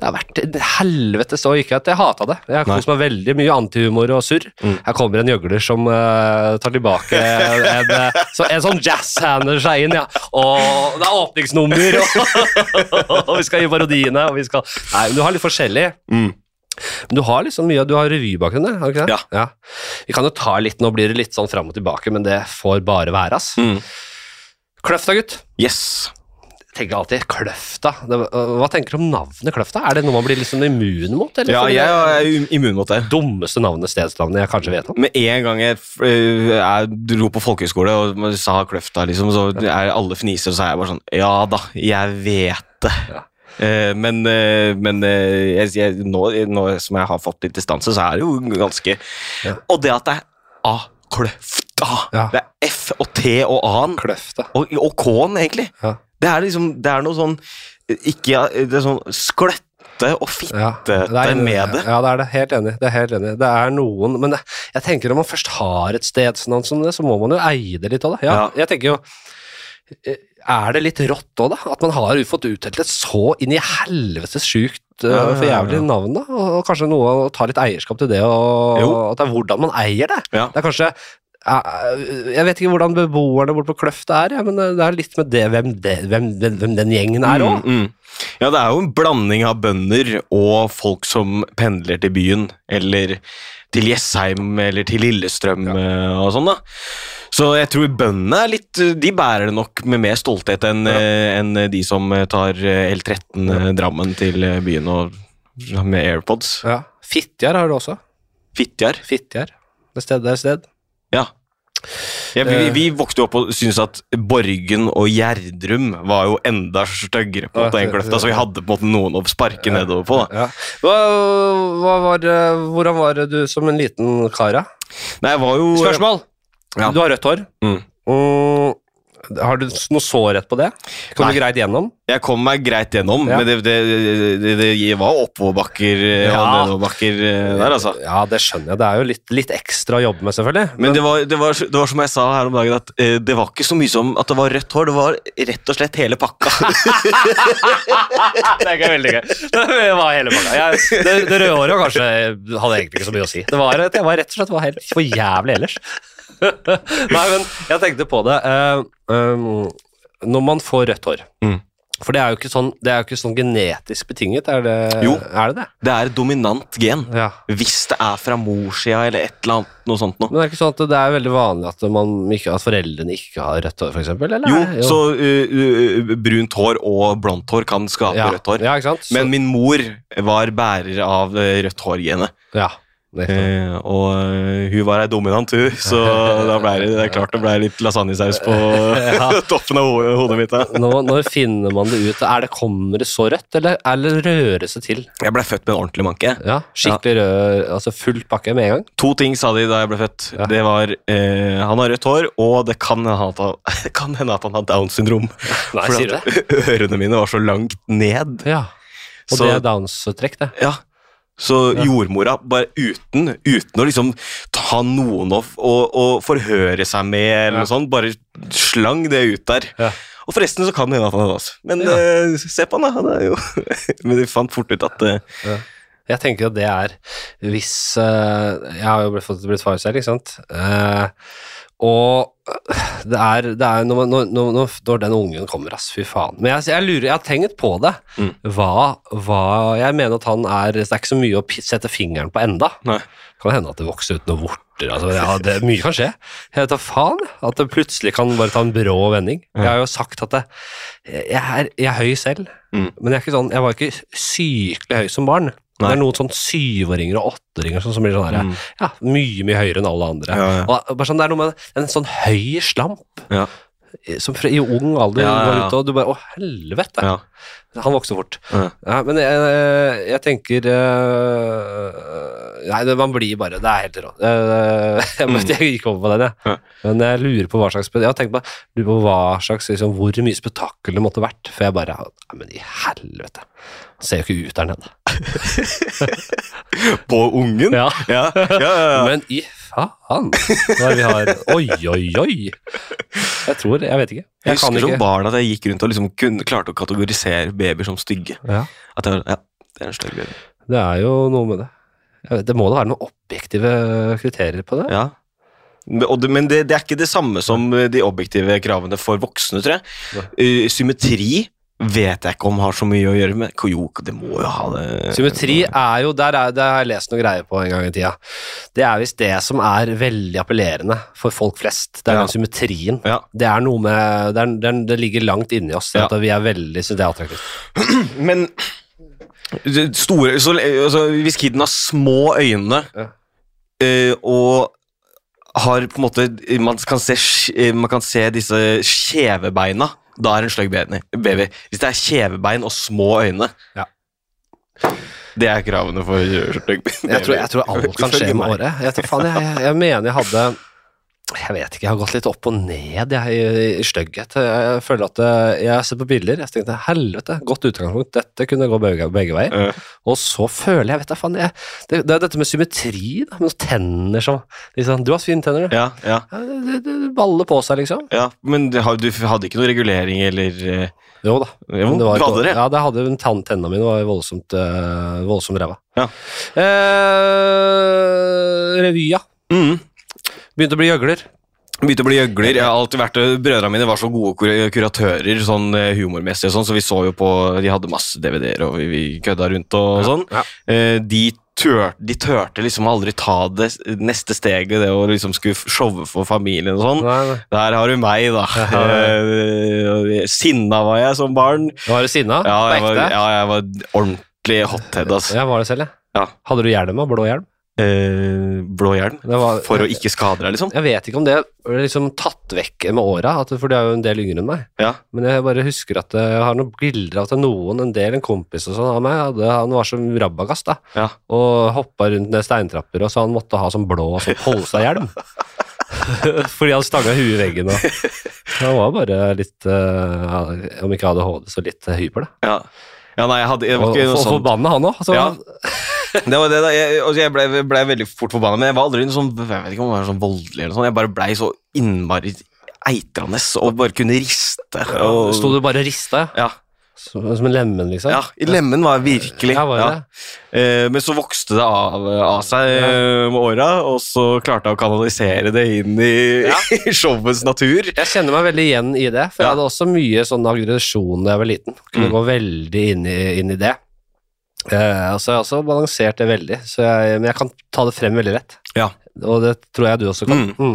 [SPEAKER 1] Det har vært et helvete så ikke at jeg hata det. Jeg har kost meg veldig mye antihumor og surr. Her kommer en gjøgler som eh, tar tilbake en, eh, så, en sånn jazzhander seg inn, ja. Og det er åpningsnummer, og, og vi skal gi parodiene, og vi skal Nei, men du har litt forskjellig.
[SPEAKER 2] Mm.
[SPEAKER 1] Men du har liksom mye, du har revybakgrunn, der, har du ikke det? Ja. Vi kan jo ta litt, nå blir det litt sånn fram og tilbake, men det får bare være, ass.
[SPEAKER 2] Mm.
[SPEAKER 1] Kløfta, gutt.
[SPEAKER 2] Yes.
[SPEAKER 1] Jeg tenker alltid Kløfta. Det, øh, hva tenker du om navnet Kløfta? Er det noe man blir liksom immun mot? Eller?
[SPEAKER 2] Ja,
[SPEAKER 1] For
[SPEAKER 2] jeg
[SPEAKER 1] det
[SPEAKER 2] er im- immun mot det.
[SPEAKER 1] Dummeste navnet, stedsnavnet jeg kanskje vet om.
[SPEAKER 2] Med en gang jeg, f- eh, jeg dro på folkehøyskole og man sa Kløfta, liksom, så er alle fniser, og så er jeg bare sånn Ja da, jeg vet det.
[SPEAKER 1] Ja.
[SPEAKER 2] Eh, Men, eh, men eh, jeg, jeg, nå, nå som jeg har fått litt distanse, så er det jo ganske
[SPEAKER 1] Ja.
[SPEAKER 2] Og det at det er A-kløfta.
[SPEAKER 1] Ja.
[SPEAKER 2] Det er F og T og A-en.
[SPEAKER 1] Kløfta.
[SPEAKER 2] Og, og K-en, egentlig.
[SPEAKER 1] Ja.
[SPEAKER 2] Det er liksom, det er noe sånn ikke, Det er sånn skløtte og fitte
[SPEAKER 1] Ja,
[SPEAKER 2] med det.
[SPEAKER 1] Ja, det er det. Helt enig. Det er helt enig. Det er noen Men det, jeg tenker om man først har et stedsnavn som det, så må man jo eie det litt òg, da. Ja,
[SPEAKER 2] Ja.
[SPEAKER 1] Jeg tenker jo eh, Er det litt rått òg, da? At man har fått utdelt et så inn i helvetes sjukt eh,
[SPEAKER 2] Ja, ja,
[SPEAKER 1] for
[SPEAKER 2] ja,
[SPEAKER 1] jævlig navn, da? Og, og kanskje noe å ta litt eierskap til det, og,
[SPEAKER 2] Jo.
[SPEAKER 1] at det er hvordan man eier det.
[SPEAKER 2] Ja.
[SPEAKER 1] Det er kanskje eh, jeg vet ikke hvordan beboerne borte på Kløfta er, ja, men eh, det er litt med det hvem, det, hvem, hvem, hvem den gjengen er òg.
[SPEAKER 2] Mm, mm. Ja, det er jo en blanding av bønder og folk som pendler til byen, eller til Jessheim, eller til Lillestrøm eh, og sånn, da. Så jeg tror bøndene er litt De bærer det nok med mer stolthet enn eh, enn de som tar eh, L13 eh, Drammen til eh, byen og Med AirPods.
[SPEAKER 1] Ja. Fittjar har du også.
[SPEAKER 2] Fittjar.
[SPEAKER 1] Fittjar. Det er sted, det er sted.
[SPEAKER 2] Ja. Ja, vi,
[SPEAKER 1] Eh.
[SPEAKER 2] vi- vi vokste jo opp og syntes at Borgen og Gjerdrum var jo enda styggere på en måte, enn Kløfta, så vi hadde på en måte noen å sparke nedover på.
[SPEAKER 1] Ja.
[SPEAKER 2] da.
[SPEAKER 1] Hva, hva var, eh, hvordan var det du som en liten kara?
[SPEAKER 2] Nei, jeg var jo
[SPEAKER 1] Spørsmål!
[SPEAKER 2] Ja.
[SPEAKER 1] Du har rødt hår.
[SPEAKER 2] Mm.
[SPEAKER 1] Mm, har du s- noe sårhet på det? Kom
[SPEAKER 2] Nei.
[SPEAKER 1] du greit gjennom?
[SPEAKER 2] Jeg kom meg greit gjennom,
[SPEAKER 1] Ja.
[SPEAKER 2] men det, det, det, det, det var oppoverbakker eh, og
[SPEAKER 1] Ja.
[SPEAKER 2] nedoverbakker eh, der, altså.
[SPEAKER 1] Ja, det skjønner jeg. Det er jo litt, litt ekstra å jobbe med, selvfølgelig.
[SPEAKER 2] Men det var, det, var, det var som jeg sa her om dagen, at eh, det var ikke så mye som at det var rødt hår, det var rett og slett hele pakka.
[SPEAKER 1] Det er veldig gøy. Det var hele pakka. Jeg, det, det røde håret kanskje hadde egentlig ikke så mye å si. Det var, at jeg var rett og slett var helt for jævlig ellers. Nei, men jeg tenkte på det. eh, um, når man får rødt hår
[SPEAKER 2] Mm.
[SPEAKER 1] For det er jo ikke sånn, det er jo ikke sånn genetisk betinget, er det
[SPEAKER 2] Jo.
[SPEAKER 1] Er det? det?
[SPEAKER 2] Det er et dominant gen.
[SPEAKER 1] Ja.
[SPEAKER 2] Hvis det er fra morssida eller et eller annet noe sånt noe.
[SPEAKER 1] Men det er ikke sånn at det er veldig vanlig at, man ikke, at foreldrene ikke har rødt hår, for eksempel? Eller?
[SPEAKER 2] Jo,
[SPEAKER 1] er det-
[SPEAKER 2] så eh, eh, brunt hår og blondt hår kan skape
[SPEAKER 1] ja.
[SPEAKER 2] rødt hår.
[SPEAKER 1] Ja, ikke sant? Så-
[SPEAKER 2] Men min mor var bærer av eh, rødt hår-genet.
[SPEAKER 1] ja, det er ikke sant.
[SPEAKER 2] Eh, og eh, hun var ei dominant, hun, så da ble det, det er klart det ble litt lasagnesaus på toppen av ho- hodet mitt. da.
[SPEAKER 1] Nå, når finner man det ut? Er det, kommer det så rødt, eller, eller rører det seg til?
[SPEAKER 2] Jeg ble født med en ordentlig manke.
[SPEAKER 1] Ja, skikkelig rød, altså full pakke med en gang.
[SPEAKER 2] To ting sa de da jeg ble født.
[SPEAKER 1] Ja.
[SPEAKER 2] Det var eh, Han har rødt hår, og det kan hende at han, kan hende at han har Downs syndrom.
[SPEAKER 1] Nei, sier
[SPEAKER 2] at ørene mine var så langt ned.
[SPEAKER 1] Ja. Og
[SPEAKER 2] Så-
[SPEAKER 1] det er downs-trekk, det.
[SPEAKER 2] Ja. Så jordmora, bare uten, uten å liksom ta noen å, å, å forhøre seg med,
[SPEAKER 1] Ja.
[SPEAKER 2] eller noe sånt, bare slang det ut der.
[SPEAKER 1] Ja.
[SPEAKER 2] Og forresten så kan det hende at han hadde oss. Men
[SPEAKER 1] Ja.
[SPEAKER 2] eh, se på han, da. Han er jo Men de fant fort ut at eh,
[SPEAKER 1] Jeg tenker at det er hvis eh, Jeg har jo blitt, fått- blitt far selv, ikke sant. Eh, og det er, det er når, man- når, når, når- når den ungen kommer, ass, fy faen. Men jeg, jeg lurer, jeg har tenkt på det.
[SPEAKER 2] Mm.
[SPEAKER 1] Hva, hva Jeg mener at han er Det er ikke så mye å pi- sette fingeren på enda.
[SPEAKER 2] Nei.
[SPEAKER 1] Det kan hende at det vokser ut noen vorter. Altså, ja, det, mye kan skje. Jeg vet da faen at det plutselig kan bare ta en brå vending. Jeg har jo sagt at det, jeg, er, jeg er høy selv,
[SPEAKER 2] Mm.
[SPEAKER 1] men jeg, er ikke sånn, jeg var ikke sykelig høy som barn.
[SPEAKER 2] Nei.
[SPEAKER 1] Det er noen sånn syvåringer og åtteringer som, som blir sånn her,
[SPEAKER 2] Mm.
[SPEAKER 1] ja, mye, mye høyere enn alle andre.
[SPEAKER 2] Ja, ja.
[SPEAKER 1] Og bare sånn, det er noe med en sånn høy slamp
[SPEAKER 2] ja,
[SPEAKER 1] eh, som fra, i ung alder
[SPEAKER 2] Ja, ja,
[SPEAKER 1] går
[SPEAKER 2] ja.
[SPEAKER 1] ut, og du bare, å helvete.
[SPEAKER 2] ja,
[SPEAKER 1] Han vokser fort.
[SPEAKER 2] Ja.
[SPEAKER 1] Ja, men jeg, eh, jeg tenker øh, Nei, det, man blir bare Det er helt rått. Øh, Jeg, møtte- jeg gikk over på den, jeg.
[SPEAKER 2] Mm. Ja.
[SPEAKER 1] Men jeg lurer på hva slags Jeg har tenkt på, lurer på hva slags, liksom, hvor mye spetakkel det måtte vært. For jeg bare Nei, men i helvete. Han ser jo ikke ut der nede.
[SPEAKER 2] På ungen?
[SPEAKER 1] Ja.
[SPEAKER 2] ja, ja, ja, ja.
[SPEAKER 1] Men i faen hva er det vi har Oi, oi, oi. Jeg tror Jeg vet ikke.
[SPEAKER 2] Jeg
[SPEAKER 1] kan
[SPEAKER 2] husker som
[SPEAKER 1] ikke.
[SPEAKER 2] barn at jeg gikk rundt og liksom kunne, klarte å kategorisere babyer som stygge.
[SPEAKER 1] Ja,
[SPEAKER 2] At jeg, var- ja, det er en stygg baby.
[SPEAKER 1] det er jo noe med det. Jeg vet, det må da være noen objektive kriterier på det?
[SPEAKER 2] Ja. Men- Og det, men det, det er ikke det samme som eh, de objektive kravene for voksne, tror jeg. Eh, symmetri vet jeg ikke om har så mye å gjøre med Ko- Jo, det må jo ha det
[SPEAKER 1] Eh, Symmetri er jo der er, Det har jeg lest noen greier på en gang i tida. Det er visst det som er veldig appellerende for folk flest. Det er
[SPEAKER 2] Ja.
[SPEAKER 1] den symmetrien.
[SPEAKER 2] Ja.
[SPEAKER 1] Det er noe med Det, er, det, er, det ligger langt inni oss.
[SPEAKER 2] Ja.
[SPEAKER 1] At vi er veldig synes det er attraktivt.
[SPEAKER 2] Men det store så, altså, Hvis kiden har små øyne eh, og har på en måte Man kan se, sk- eh, man kan se disse skjeve beina. Da er det en sløgg baby. baby. Hvis det er kjevebein og små øyne
[SPEAKER 1] Ja.
[SPEAKER 2] Det er kravene for sløgg baby.
[SPEAKER 1] Jeg tror, jeg tror alt kan skje
[SPEAKER 2] Ifølge
[SPEAKER 1] med
[SPEAKER 2] meg.
[SPEAKER 1] året. Jeg, vet faen, jeg, jeg, jeg mener jeg hadde jeg vet ikke, jeg har gått litt opp og ned jeg, i, i stygghet. Jeg, jeg føler at eh, Jeg ser på bilder, jeg tenkte helvete, godt utgangspunkt, dette kunne gå begge, begge veier.
[SPEAKER 2] Ja.
[SPEAKER 1] Og så føler jeg, vet da faen jeg, det, det er dette med symmetri, da, med tenner som liksom, Du har fine tenner, du.
[SPEAKER 2] Ja, ja.
[SPEAKER 1] Ja, det, det, det baller på seg, liksom.
[SPEAKER 2] Ja, men det har- du hadde ikke noe regulering eller eh,
[SPEAKER 1] Jo da.
[SPEAKER 2] Jo,
[SPEAKER 1] Men
[SPEAKER 2] du hadde det?
[SPEAKER 1] Ja, det hadde en tann, tennene mine var voldsomt, uh, voldsomt ræva.
[SPEAKER 2] Ja.
[SPEAKER 1] Eh, revy, ja.
[SPEAKER 2] mm.
[SPEAKER 1] Begynte å bli gjøgler.
[SPEAKER 2] Begynte å bli gjøgler. Jeg har alltid vært eh, Brødrene mine var så gode kur- kuratører sånn eh, humormessig og sånn, så vi så jo på De hadde masse DVD-er, og vi, vi kødda rundt og sånn.
[SPEAKER 1] Ja.
[SPEAKER 2] Eh, De tør, de tørte liksom aldri ta det s- neste steget, det å liksom skulle f- showe for familien og sånn.
[SPEAKER 1] Nei, nei.
[SPEAKER 2] Der har du meg, da.
[SPEAKER 1] Ja, ja,
[SPEAKER 2] Eh, Sinna var jeg som barn.
[SPEAKER 1] Var du sinna?
[SPEAKER 2] Ja, jeg
[SPEAKER 1] På
[SPEAKER 2] var,
[SPEAKER 1] ekte?
[SPEAKER 2] ja, jeg var ordentlig skikkelig hothead, altså.
[SPEAKER 1] Jeg var det selv, jeg.
[SPEAKER 2] Ja.
[SPEAKER 1] Hadde du hjelm og blå hjelm?
[SPEAKER 2] Eh, blå hjelm?
[SPEAKER 1] Det var-
[SPEAKER 2] For å ikke skade deg, liksom?
[SPEAKER 1] Jeg vet ikke om det ble liksom tatt vekk med åra, at- for de er jo en del yngre enn meg.
[SPEAKER 2] Ja.
[SPEAKER 1] Men jeg bare husker at jeg har noen bilder av at noen, en del, en kompis og sånn av meg, hadde, han var som rabagast, da.
[SPEAKER 2] ja.
[SPEAKER 1] og hoppa rundt ned steintrapper, og så han måtte ha sånn blå sånn Polstad-hjelm. Fordi han stanga huet i veggen. Og. Så Han var bare litt eh, Om ikke ADHD, så litt eh, hyper, da.
[SPEAKER 2] Ja, ja nei, jeg hadde, det var
[SPEAKER 1] Og,
[SPEAKER 2] ikke
[SPEAKER 1] og
[SPEAKER 2] noe sånn- sånt.
[SPEAKER 1] forbanna han òg.
[SPEAKER 2] Ja. Det var det da, jeg, altså, jeg ble, ble veldig fort forbanna, men jeg var aldri noe sånn, jeg vet ikke om jeg var sånn voldelig eller sånn, jeg bare blei så innmari eitrende og bare kunne riste. Og,
[SPEAKER 1] Sto du bare og rista, ja.
[SPEAKER 2] Ja,
[SPEAKER 1] Som, som en lemen, liksom?
[SPEAKER 2] ja, i lemmen var jeg virkelig.
[SPEAKER 1] Ja, var det det?
[SPEAKER 2] Eh, men så vokste det av, av seg eh, med åra, og så klarte jeg å kanalisere det inn i, i showets natur.
[SPEAKER 1] Jeg kjenner meg veldig igjen i det, for jeg
[SPEAKER 2] Ja. Mm.
[SPEAKER 1] hadde også mye sånn aggresjon da jeg var liten. Kunne gå veldig inn i, inn i det. Eh, og så har jeg også balansert det veldig, så jeg, men jeg kan ta det frem veldig lett.
[SPEAKER 2] Ja.
[SPEAKER 1] Og det tror jeg du også kan. Mm.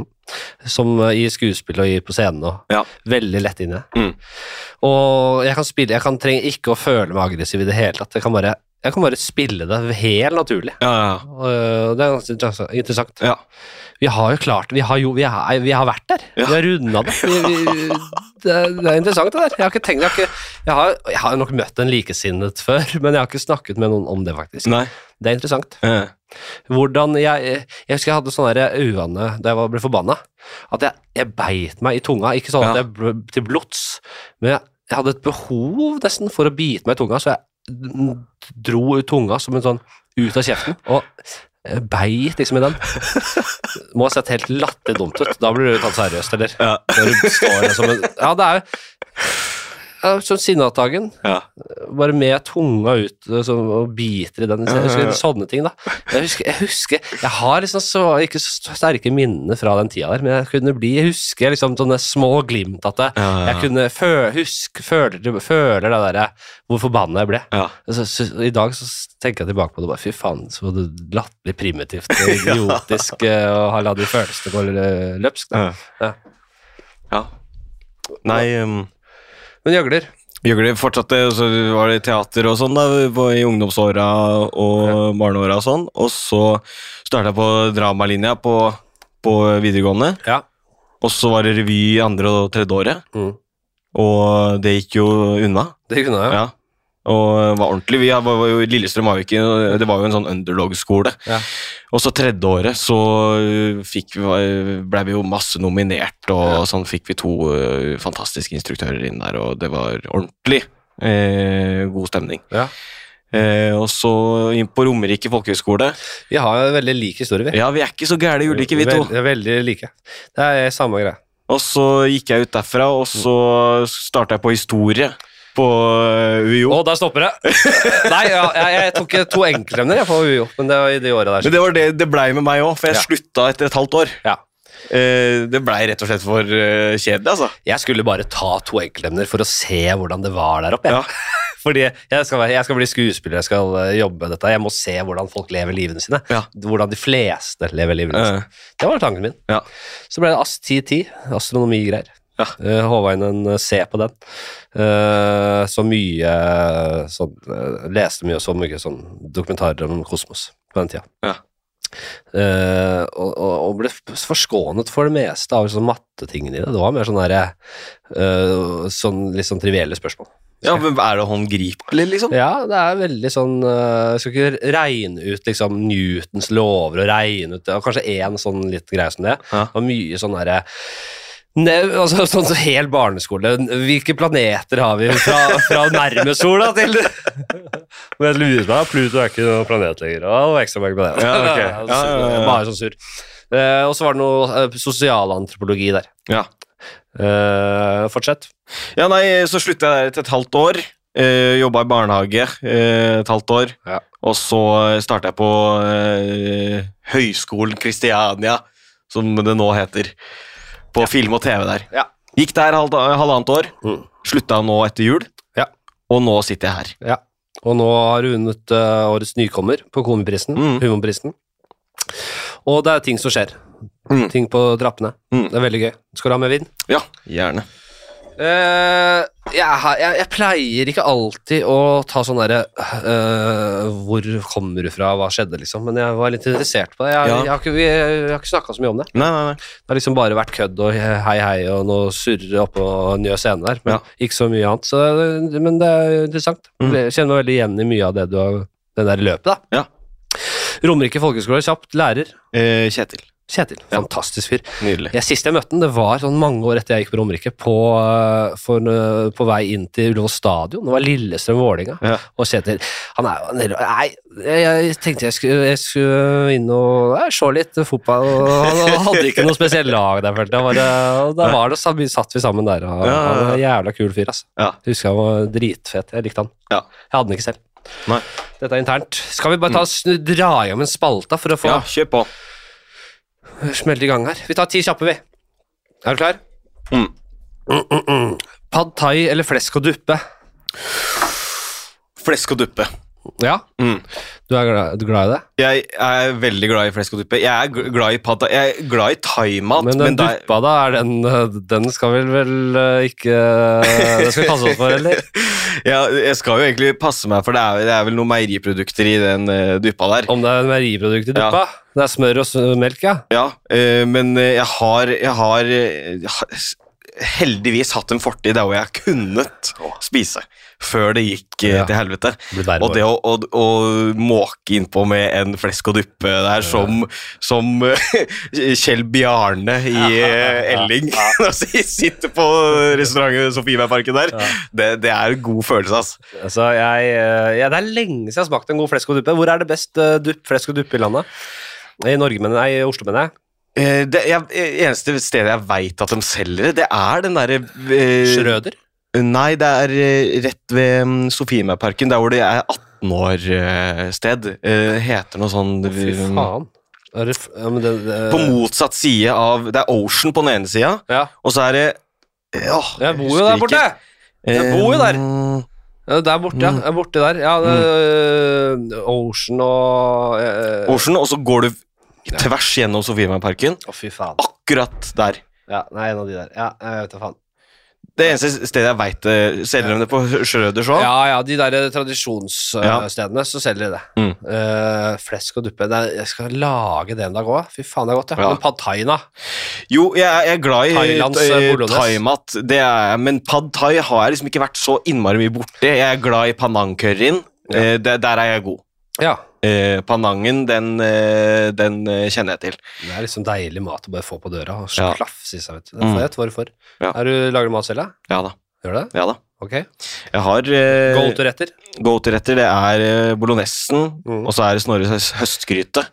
[SPEAKER 1] Som eh, i skuespill og i på scenen og
[SPEAKER 2] Ja.
[SPEAKER 1] Veldig lett inn i det.
[SPEAKER 2] Mm.
[SPEAKER 1] Og jeg kan spille, jeg kan trenger ikke å føle meg aggressiv i det hele tatt. Jeg kan bare, jeg kan bare spille det helt naturlig.
[SPEAKER 2] Ja, ja,
[SPEAKER 1] Og eh, det er ganske interessant.
[SPEAKER 2] ja.
[SPEAKER 1] Vi har jo klart Vi har, jo, vi er, vi har vært der. Vi har runda det. Vi, vi, det, er- det er interessant, det der. Jeg har ikke tenkt Jeg har, ikke, jeg har, jeg har nok møtt en likesinnet før, men jeg har ikke snakket med noen om det, faktisk.
[SPEAKER 2] Nei.
[SPEAKER 1] Det er interessant.
[SPEAKER 2] eh,
[SPEAKER 1] Hvordan jeg Jeg husker jeg hadde sånne der uvane da jeg var- ble forbanna. At jeg, jeg beit meg i tunga. Ikke sånn at
[SPEAKER 2] Ja.
[SPEAKER 1] jeg ble til blods, men jeg, jeg hadde et behov nesten for å bite meg i tunga, så jeg dro ut tunga som en sånn ut av kjeften. og jeg Beit liksom i den. Må ha sett helt latterlig dumt ut. Da blir du tatt seriøst, eller?
[SPEAKER 2] Ja.
[SPEAKER 1] Når du står der som en Ja, det er jo ja, Som Sinnataggen
[SPEAKER 2] ja.
[SPEAKER 1] bare med tunga ut og sånn, og biter i den. Jeg husker sånne ting, da. Jeg husker, jeg, husker, jeg har liksom så, ikke så sterke minner fra den tida der, men jeg kunne bli Jeg husker liksom sånne små glimt at jeg,
[SPEAKER 2] Ja, ja, ja.
[SPEAKER 1] jeg kunne fø, husk, føler, føler det derre Hvor forbanna jeg ble.
[SPEAKER 2] ja.
[SPEAKER 1] Så, så, I dag så tenker jeg tilbake på det og bare fy faen, så det latterlig primitivt og idiotisk eh, å ha la de følelsene gå eh, løpsk. Da. Ja.
[SPEAKER 2] Ja. Nei ehm,
[SPEAKER 1] Men gjøgler.
[SPEAKER 2] Gjøgle fortsatte, og så var det teater og sånn da, på, i ungdomsåra og barneåra og sånn. Og så starta jeg på dramalinja på, på videregående.
[SPEAKER 1] Ja.
[SPEAKER 2] Og så var det revy andre og tredje året,
[SPEAKER 1] Mm.
[SPEAKER 2] og det gikk jo unna.
[SPEAKER 1] Det kunne jeg.
[SPEAKER 2] Ja. Og eh, var ordentlig. Vi var var jo i Lillestrøm var jo ikke, det var jo en sånn underdog-skole.
[SPEAKER 1] Ja.
[SPEAKER 2] Og så tredje året så øh, fikk vi, ble vi jo masse nominert, og sånn fikk vi to øh, fantastiske instruktører inn der, og det var ordentlig eh, god stemning.
[SPEAKER 1] Ja.
[SPEAKER 2] Eh, og så inn på Romerike folkehøgskole.
[SPEAKER 1] Vi har jo veldig lik historie, vi.
[SPEAKER 2] Ja, vi er ikke så gærne ulike, vi to.
[SPEAKER 1] Vel- ja, veldig like. Det er samme greie.
[SPEAKER 2] Og så gikk jeg ut derfra, og så starta jeg på historie på øh, UiO.
[SPEAKER 1] Å, der stopper det! Nei, ja, jeg, jeg tok to enkeltemner jeg, på UiO, men det var i de åra der.
[SPEAKER 2] Men det var det det blei med meg òg, for jeg
[SPEAKER 1] Ja.
[SPEAKER 2] slutta etter et halvt år.
[SPEAKER 1] Ja.
[SPEAKER 2] Eh, det blei rett og slett for eh, kjedelig, altså.
[SPEAKER 1] Jeg skulle bare ta to enkeltemner for å se hvordan det var der oppe. jeg. Fordi jeg skal, være, jeg skal bli skuespiller, jeg skal eh, jobbe med dette. Jeg må se hvordan folk lever livene sine.
[SPEAKER 2] Ja.
[SPEAKER 1] Hvordan de fleste lever livene sine.
[SPEAKER 2] Eh,
[SPEAKER 1] Det var tanken min.
[SPEAKER 2] ja.
[SPEAKER 1] Så ble det AS1010, astronomigreier.
[SPEAKER 2] Ja.
[SPEAKER 1] Eh, Håva inn en eh, C på den. Eh, så mye eh, sånn, eh, Leste mye og så mye sånn dokumentarer om kosmos på den tida.
[SPEAKER 2] Ja.
[SPEAKER 1] Eh, og, og, og ble f- forskånet for det meste av sånn mattetingene i det. Det var mer sånn derre eh, sånn, Litt sånn trivielle spørsmål.
[SPEAKER 2] ja, men er det håndgripelig, liksom?
[SPEAKER 1] Ja, det er veldig sånn eh, Jeg skal ikke regne ut liksom, Newtons lover og regne ut det. og Kanskje én sånn litt greie som det.
[SPEAKER 2] Ja.
[SPEAKER 1] Og mye sånn derre ne, altså, sånn som hel barneskole. Hvilke planeter har vi fra, fra nærme sola til Men jeg lurer meg, Pluto er ikke noen planet lenger. Å, det var ekstra mange planeter.
[SPEAKER 2] Ja, ok. Ja, ja, ja, ja.
[SPEAKER 1] Bare sånn surr. Eh, og så var det noe eh, sosialantropologi der.
[SPEAKER 2] Ja.
[SPEAKER 1] Eh, fortsett.
[SPEAKER 2] Ja, nei, så slutta jeg der etter et halvt år. Eh, Jobba i barnehage eh, et halvt år.
[SPEAKER 1] Ja.
[SPEAKER 2] Og så starta jeg på eh, Høgskolen Kristiania, som det nå heter. På film og TV der.
[SPEAKER 1] Ja.
[SPEAKER 2] Gikk der halv, halvannet år.
[SPEAKER 1] Mm.
[SPEAKER 2] Slutta nå etter jul.
[SPEAKER 1] Ja.
[SPEAKER 2] Og nå sitter jeg her.
[SPEAKER 1] Ja, og nå har du vunnet eh, årets nykommer på Komiprisen,
[SPEAKER 2] Mm.
[SPEAKER 1] humorprisen. Og det er ting som skjer.
[SPEAKER 2] Mm.
[SPEAKER 1] Ting på trappene.
[SPEAKER 2] Mm.
[SPEAKER 1] Det er veldig gøy. Skal du ha med vin?
[SPEAKER 2] Ja, gjerne.
[SPEAKER 1] Eh, jeg, har- jeg, jeg pleier ikke alltid å ta sånn derre eh, Hvor kommer du fra, hva skjedde, liksom? Men jeg var litt interessert på det. Jeg,
[SPEAKER 2] Ja.
[SPEAKER 1] jeg har ikke, vi, jeg har ikke snakka så mye om det.
[SPEAKER 2] Nei, nei, nei.
[SPEAKER 1] Det har liksom bare vært kødd og hei, hei og noe surre oppå Njø scene der. Men
[SPEAKER 2] Ja. Mm.
[SPEAKER 1] ikke så mye annet. Så, det- men det er interessant. Jeg kjenner meg veldig igjen i mye av det du har Den der løpet, da.
[SPEAKER 2] Ja.
[SPEAKER 1] Romerike folkehøgskole, kjapt. Lærer.
[SPEAKER 2] Eh, Kjetil.
[SPEAKER 1] Kjetil. Fantastisk fyr.
[SPEAKER 2] Nydelig.
[SPEAKER 1] Ja, sist jeg møtte den, det var sånn mange år etter jeg gikk på Romerike, på, eh, for, eh, på vei inn til Ullevål stadion. Det var Lillestrøm-Vålinga.
[SPEAKER 2] Ja.
[SPEAKER 1] Og Kjetil han er, han er, Nei, jeg, jeg tenkte jeg skulle, jeg skulle inn og nei, se litt fotball. og Han hadde ikke noe spesielt lag der, følte jeg. Bare, og da var det, så vi- satt vi sammen der. Og,
[SPEAKER 2] Ja, ja,
[SPEAKER 1] Han er en jævla kul fyr, altså.
[SPEAKER 2] Ja.
[SPEAKER 1] Jeg husker han var dritfet. Jeg likte han.
[SPEAKER 2] Ja.
[SPEAKER 1] Jeg hadde den ikke selv.
[SPEAKER 2] Nei.
[SPEAKER 1] Dette er internt. Skal vi bare ta, snu- dra igjen en spalte for å få
[SPEAKER 2] ja, kjør på.
[SPEAKER 1] smelte i gang her. Vi tar ti kjappe, vi. Er du klar?
[SPEAKER 2] Mm.
[SPEAKER 1] Mm, mm, mm. Pad thai eller flesk og duppe?
[SPEAKER 2] Flesk og duppe.
[SPEAKER 1] Ja,
[SPEAKER 2] Mm.
[SPEAKER 1] du er glad, du er glad i det?
[SPEAKER 2] Jeg er veldig glad i flesk og duppe. Jeg er gl- glad i pad thai. Jeg er glad i thaimat,
[SPEAKER 1] Men
[SPEAKER 2] men,
[SPEAKER 1] den
[SPEAKER 2] men det er-
[SPEAKER 1] duppa, da, er den, øh, den skal vel vel øh, ikke øh, Den skal kaste oss for, eller?
[SPEAKER 2] ja, jeg skal jo egentlig passe meg, for det er, det er vel noen meieriprodukter i den eh, duppa der.
[SPEAKER 1] Om det er meieriprodukt i
[SPEAKER 2] Ja.
[SPEAKER 1] duppa? Det er smør og s- melk, ja?
[SPEAKER 2] Ja, eh, men eh, jeg har, jeg har eh, jeg har s- heldigvis hatt en fortid der hvor jeg kunnet spise før det gikk eh,
[SPEAKER 1] Ja.
[SPEAKER 2] til helvete.
[SPEAKER 1] Blir verre
[SPEAKER 2] Og det å, å, å måke innpå med en flesk og duppe der som, som Kjell Bjarne i eh, Elling når han sitter på restauranten Sofiemeiparken der, det, det er en god følelse, altså.
[SPEAKER 1] Altså, jeg, øh, ja, det er lenge siden jeg har smakt en god flesk og duppe. Hvor er det best øh, dupp, flesk og duppe i landet? I Norge, mener jeg. I Oslo, mener jeg.
[SPEAKER 2] Eh, Det jeg, eneste stedet jeg veit at de selger det, det er den derre eh,
[SPEAKER 1] Schrøder?
[SPEAKER 2] Nei, det er eh, rett ved mm, Sofiemarken, der hvor det er 18-år-sted. Heter noe sånn
[SPEAKER 1] Fy
[SPEAKER 2] mm,
[SPEAKER 1] faen. Er det, f- ja, men det, det,
[SPEAKER 2] På motsatt side av Det er Ocean på den ene sida,
[SPEAKER 1] Ja.
[SPEAKER 2] og så er det Åh,
[SPEAKER 1] Jeg bor jo
[SPEAKER 2] husker
[SPEAKER 1] der borte!
[SPEAKER 2] ikke.
[SPEAKER 1] Jeg bor jo der.
[SPEAKER 2] Eh,
[SPEAKER 1] Ja, Der borte,
[SPEAKER 2] Mm.
[SPEAKER 1] ja. Jeg er borte der. Ja, det, øh, Ocean og øh,
[SPEAKER 2] Eh, Ocean, og så går du tvers gjennom Sofiemarken.
[SPEAKER 1] Å, fy faen.
[SPEAKER 2] Akkurat der.
[SPEAKER 1] Ja, nei, en av de der. Ja, jeg vet da faen.
[SPEAKER 2] Det eneste stedet jeg veit det. Selger de det på Schrøders òg?
[SPEAKER 1] Ja, ja, de der eh,
[SPEAKER 2] Ja.
[SPEAKER 1] tradisjonsstedene, så selger de det.
[SPEAKER 2] Mm.
[SPEAKER 1] Eh, flesk og duppe. Det er, jeg skal lage det en dag òg. Fy faen, det er godt. Ja.
[SPEAKER 2] Ja.
[SPEAKER 1] Men pad thaien, da?
[SPEAKER 2] Jo, jeg, er- jeg er glad i
[SPEAKER 1] Thailands,
[SPEAKER 2] eh,
[SPEAKER 1] eh, bolognese.
[SPEAKER 2] thaimat, det er jeg, men pad thai har jeg liksom ikke vært så innmari mye borti. Jeg er glad i panang-curryen.
[SPEAKER 1] Ja.
[SPEAKER 2] Eh, der, der er jeg god.
[SPEAKER 1] Ja.
[SPEAKER 2] Eh, panangen, den, eh, den eh, kjenner jeg til.
[SPEAKER 1] Det er liksom deilig mat å bare få på døra og
[SPEAKER 2] Ja.
[SPEAKER 1] klafse i seg, vet du. Det
[SPEAKER 2] Mm.
[SPEAKER 1] vet hva du får.
[SPEAKER 2] Ja.
[SPEAKER 1] Er du, lager du mat selv, da?
[SPEAKER 2] Ja da.
[SPEAKER 1] Gjør du det?
[SPEAKER 2] Ja da.
[SPEAKER 1] Ok.
[SPEAKER 2] Jeg har eh,
[SPEAKER 1] Go-to-retter?
[SPEAKER 2] go-to-retter. Det er eh, bolognesen,
[SPEAKER 1] Mm.
[SPEAKER 2] og så er det Snorres høstgryte.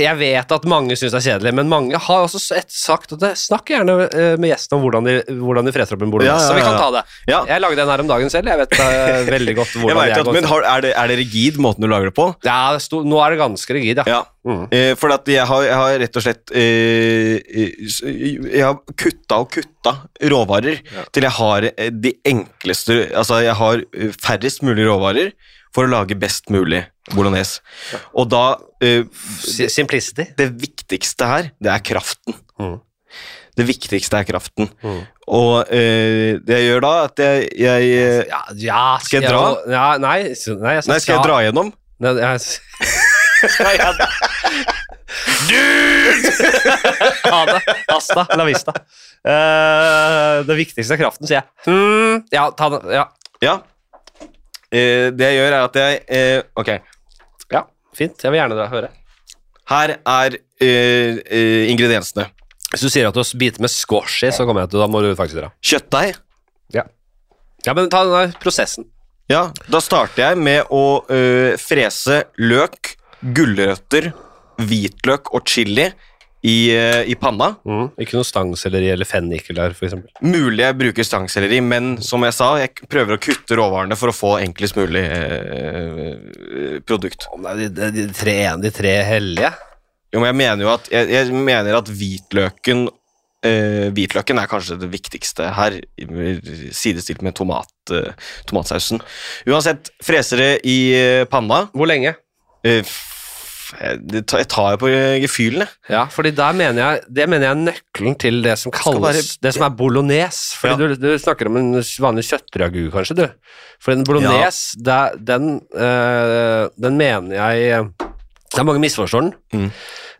[SPEAKER 1] Jeg vet at mange syns det er kjedelig, men mange har også sett- sagt at det, Snakk gjerne eh, med gjestene om hvordan de, hvordan de fretter opp en bolognese.
[SPEAKER 2] Ja, ja,
[SPEAKER 1] Så vi kan
[SPEAKER 2] ja.
[SPEAKER 1] ta det.
[SPEAKER 2] Ja.
[SPEAKER 1] Jeg lagde en her om dagen selv. Jeg vet eh, veldig godt
[SPEAKER 2] Jeg
[SPEAKER 1] hvordan jeg,
[SPEAKER 2] vet at,
[SPEAKER 1] går
[SPEAKER 2] men har, er, det, er det rigid måten du lager det på?
[SPEAKER 1] Ja, det sto, nå er det ganske rigid, ja.
[SPEAKER 2] Ja.
[SPEAKER 1] Mm.
[SPEAKER 2] Eh, for at jeg, har, jeg har rett og slett eh, eh, s- Jeg har kutta og kutta råvarer til jeg har eh, de enkleste Altså, jeg har eh, færrest mulig råvarer for å lage best mulig bolognese. Og da eh,
[SPEAKER 1] Si- Simplicity.
[SPEAKER 2] Det viktigste her, det er kraften.
[SPEAKER 1] Mm.
[SPEAKER 2] Det viktigste er kraften. Og eh, det jeg gjør da, at jeg, jeg eh,
[SPEAKER 1] Ja, ja,
[SPEAKER 2] Skal jeg dra?
[SPEAKER 1] Ja, nei, s- nei, jeg,
[SPEAKER 2] Nei, skal jeg dra gjennom?
[SPEAKER 1] Nei, jeg, Dude! ha det. Hasta la vista. Eh, det viktigste er kraften, sier jeg. Hmm, ja, ta den. Ja.
[SPEAKER 2] Ja. Eh, det jeg gjør, er at jeg eh, Ok.
[SPEAKER 1] ja, fint. Jeg vil gjerne dra, høre.
[SPEAKER 2] Her er eh, eh, ingrediensene.
[SPEAKER 1] Hvis du sier at du biter med squash i, så kommer jeg til Da må du faktisk dra.
[SPEAKER 2] Kjøttdeig.
[SPEAKER 1] Ja, ja men ta den der prosessen.
[SPEAKER 2] Ja, da starter jeg med å øh, frese løk, gulrøtter, hvitløk og chili i, øh, i panna.
[SPEAKER 1] Mm. Ikke noe stangselleri eller fennikel der, for eksempel.
[SPEAKER 2] Mulig jeg bruker stangselleri, men som jeg sa, jeg prøver å kutte råvarene for å få enklest mulig øh, produkt.
[SPEAKER 1] Å, nei, de, de, de, tre, ene- de tre hellige.
[SPEAKER 2] Jo, men jeg mener jo at, jeg, jeg mener at hvitløken øh, hvitløken er kanskje det viktigste her, i- sidestilt med tomat, øh, tomatsausen. Uansett, freser det i øh, panna.
[SPEAKER 1] Hvor lenge?
[SPEAKER 2] Eh, f- Jeg tar jeg tar jo på eh, gefühlen, jeg.
[SPEAKER 1] Ja, fordi der mener jeg, det mener jeg er nøkkelen til det som kalles
[SPEAKER 2] bare-
[SPEAKER 1] Det som er bolognese. Fordi
[SPEAKER 2] Ja.
[SPEAKER 1] du, du snakker om en vanlig kjøttragu, kanskje, du. For en bolognese, det er- den, øh, den mener jeg Det er mange misforstår den.
[SPEAKER 2] Mm.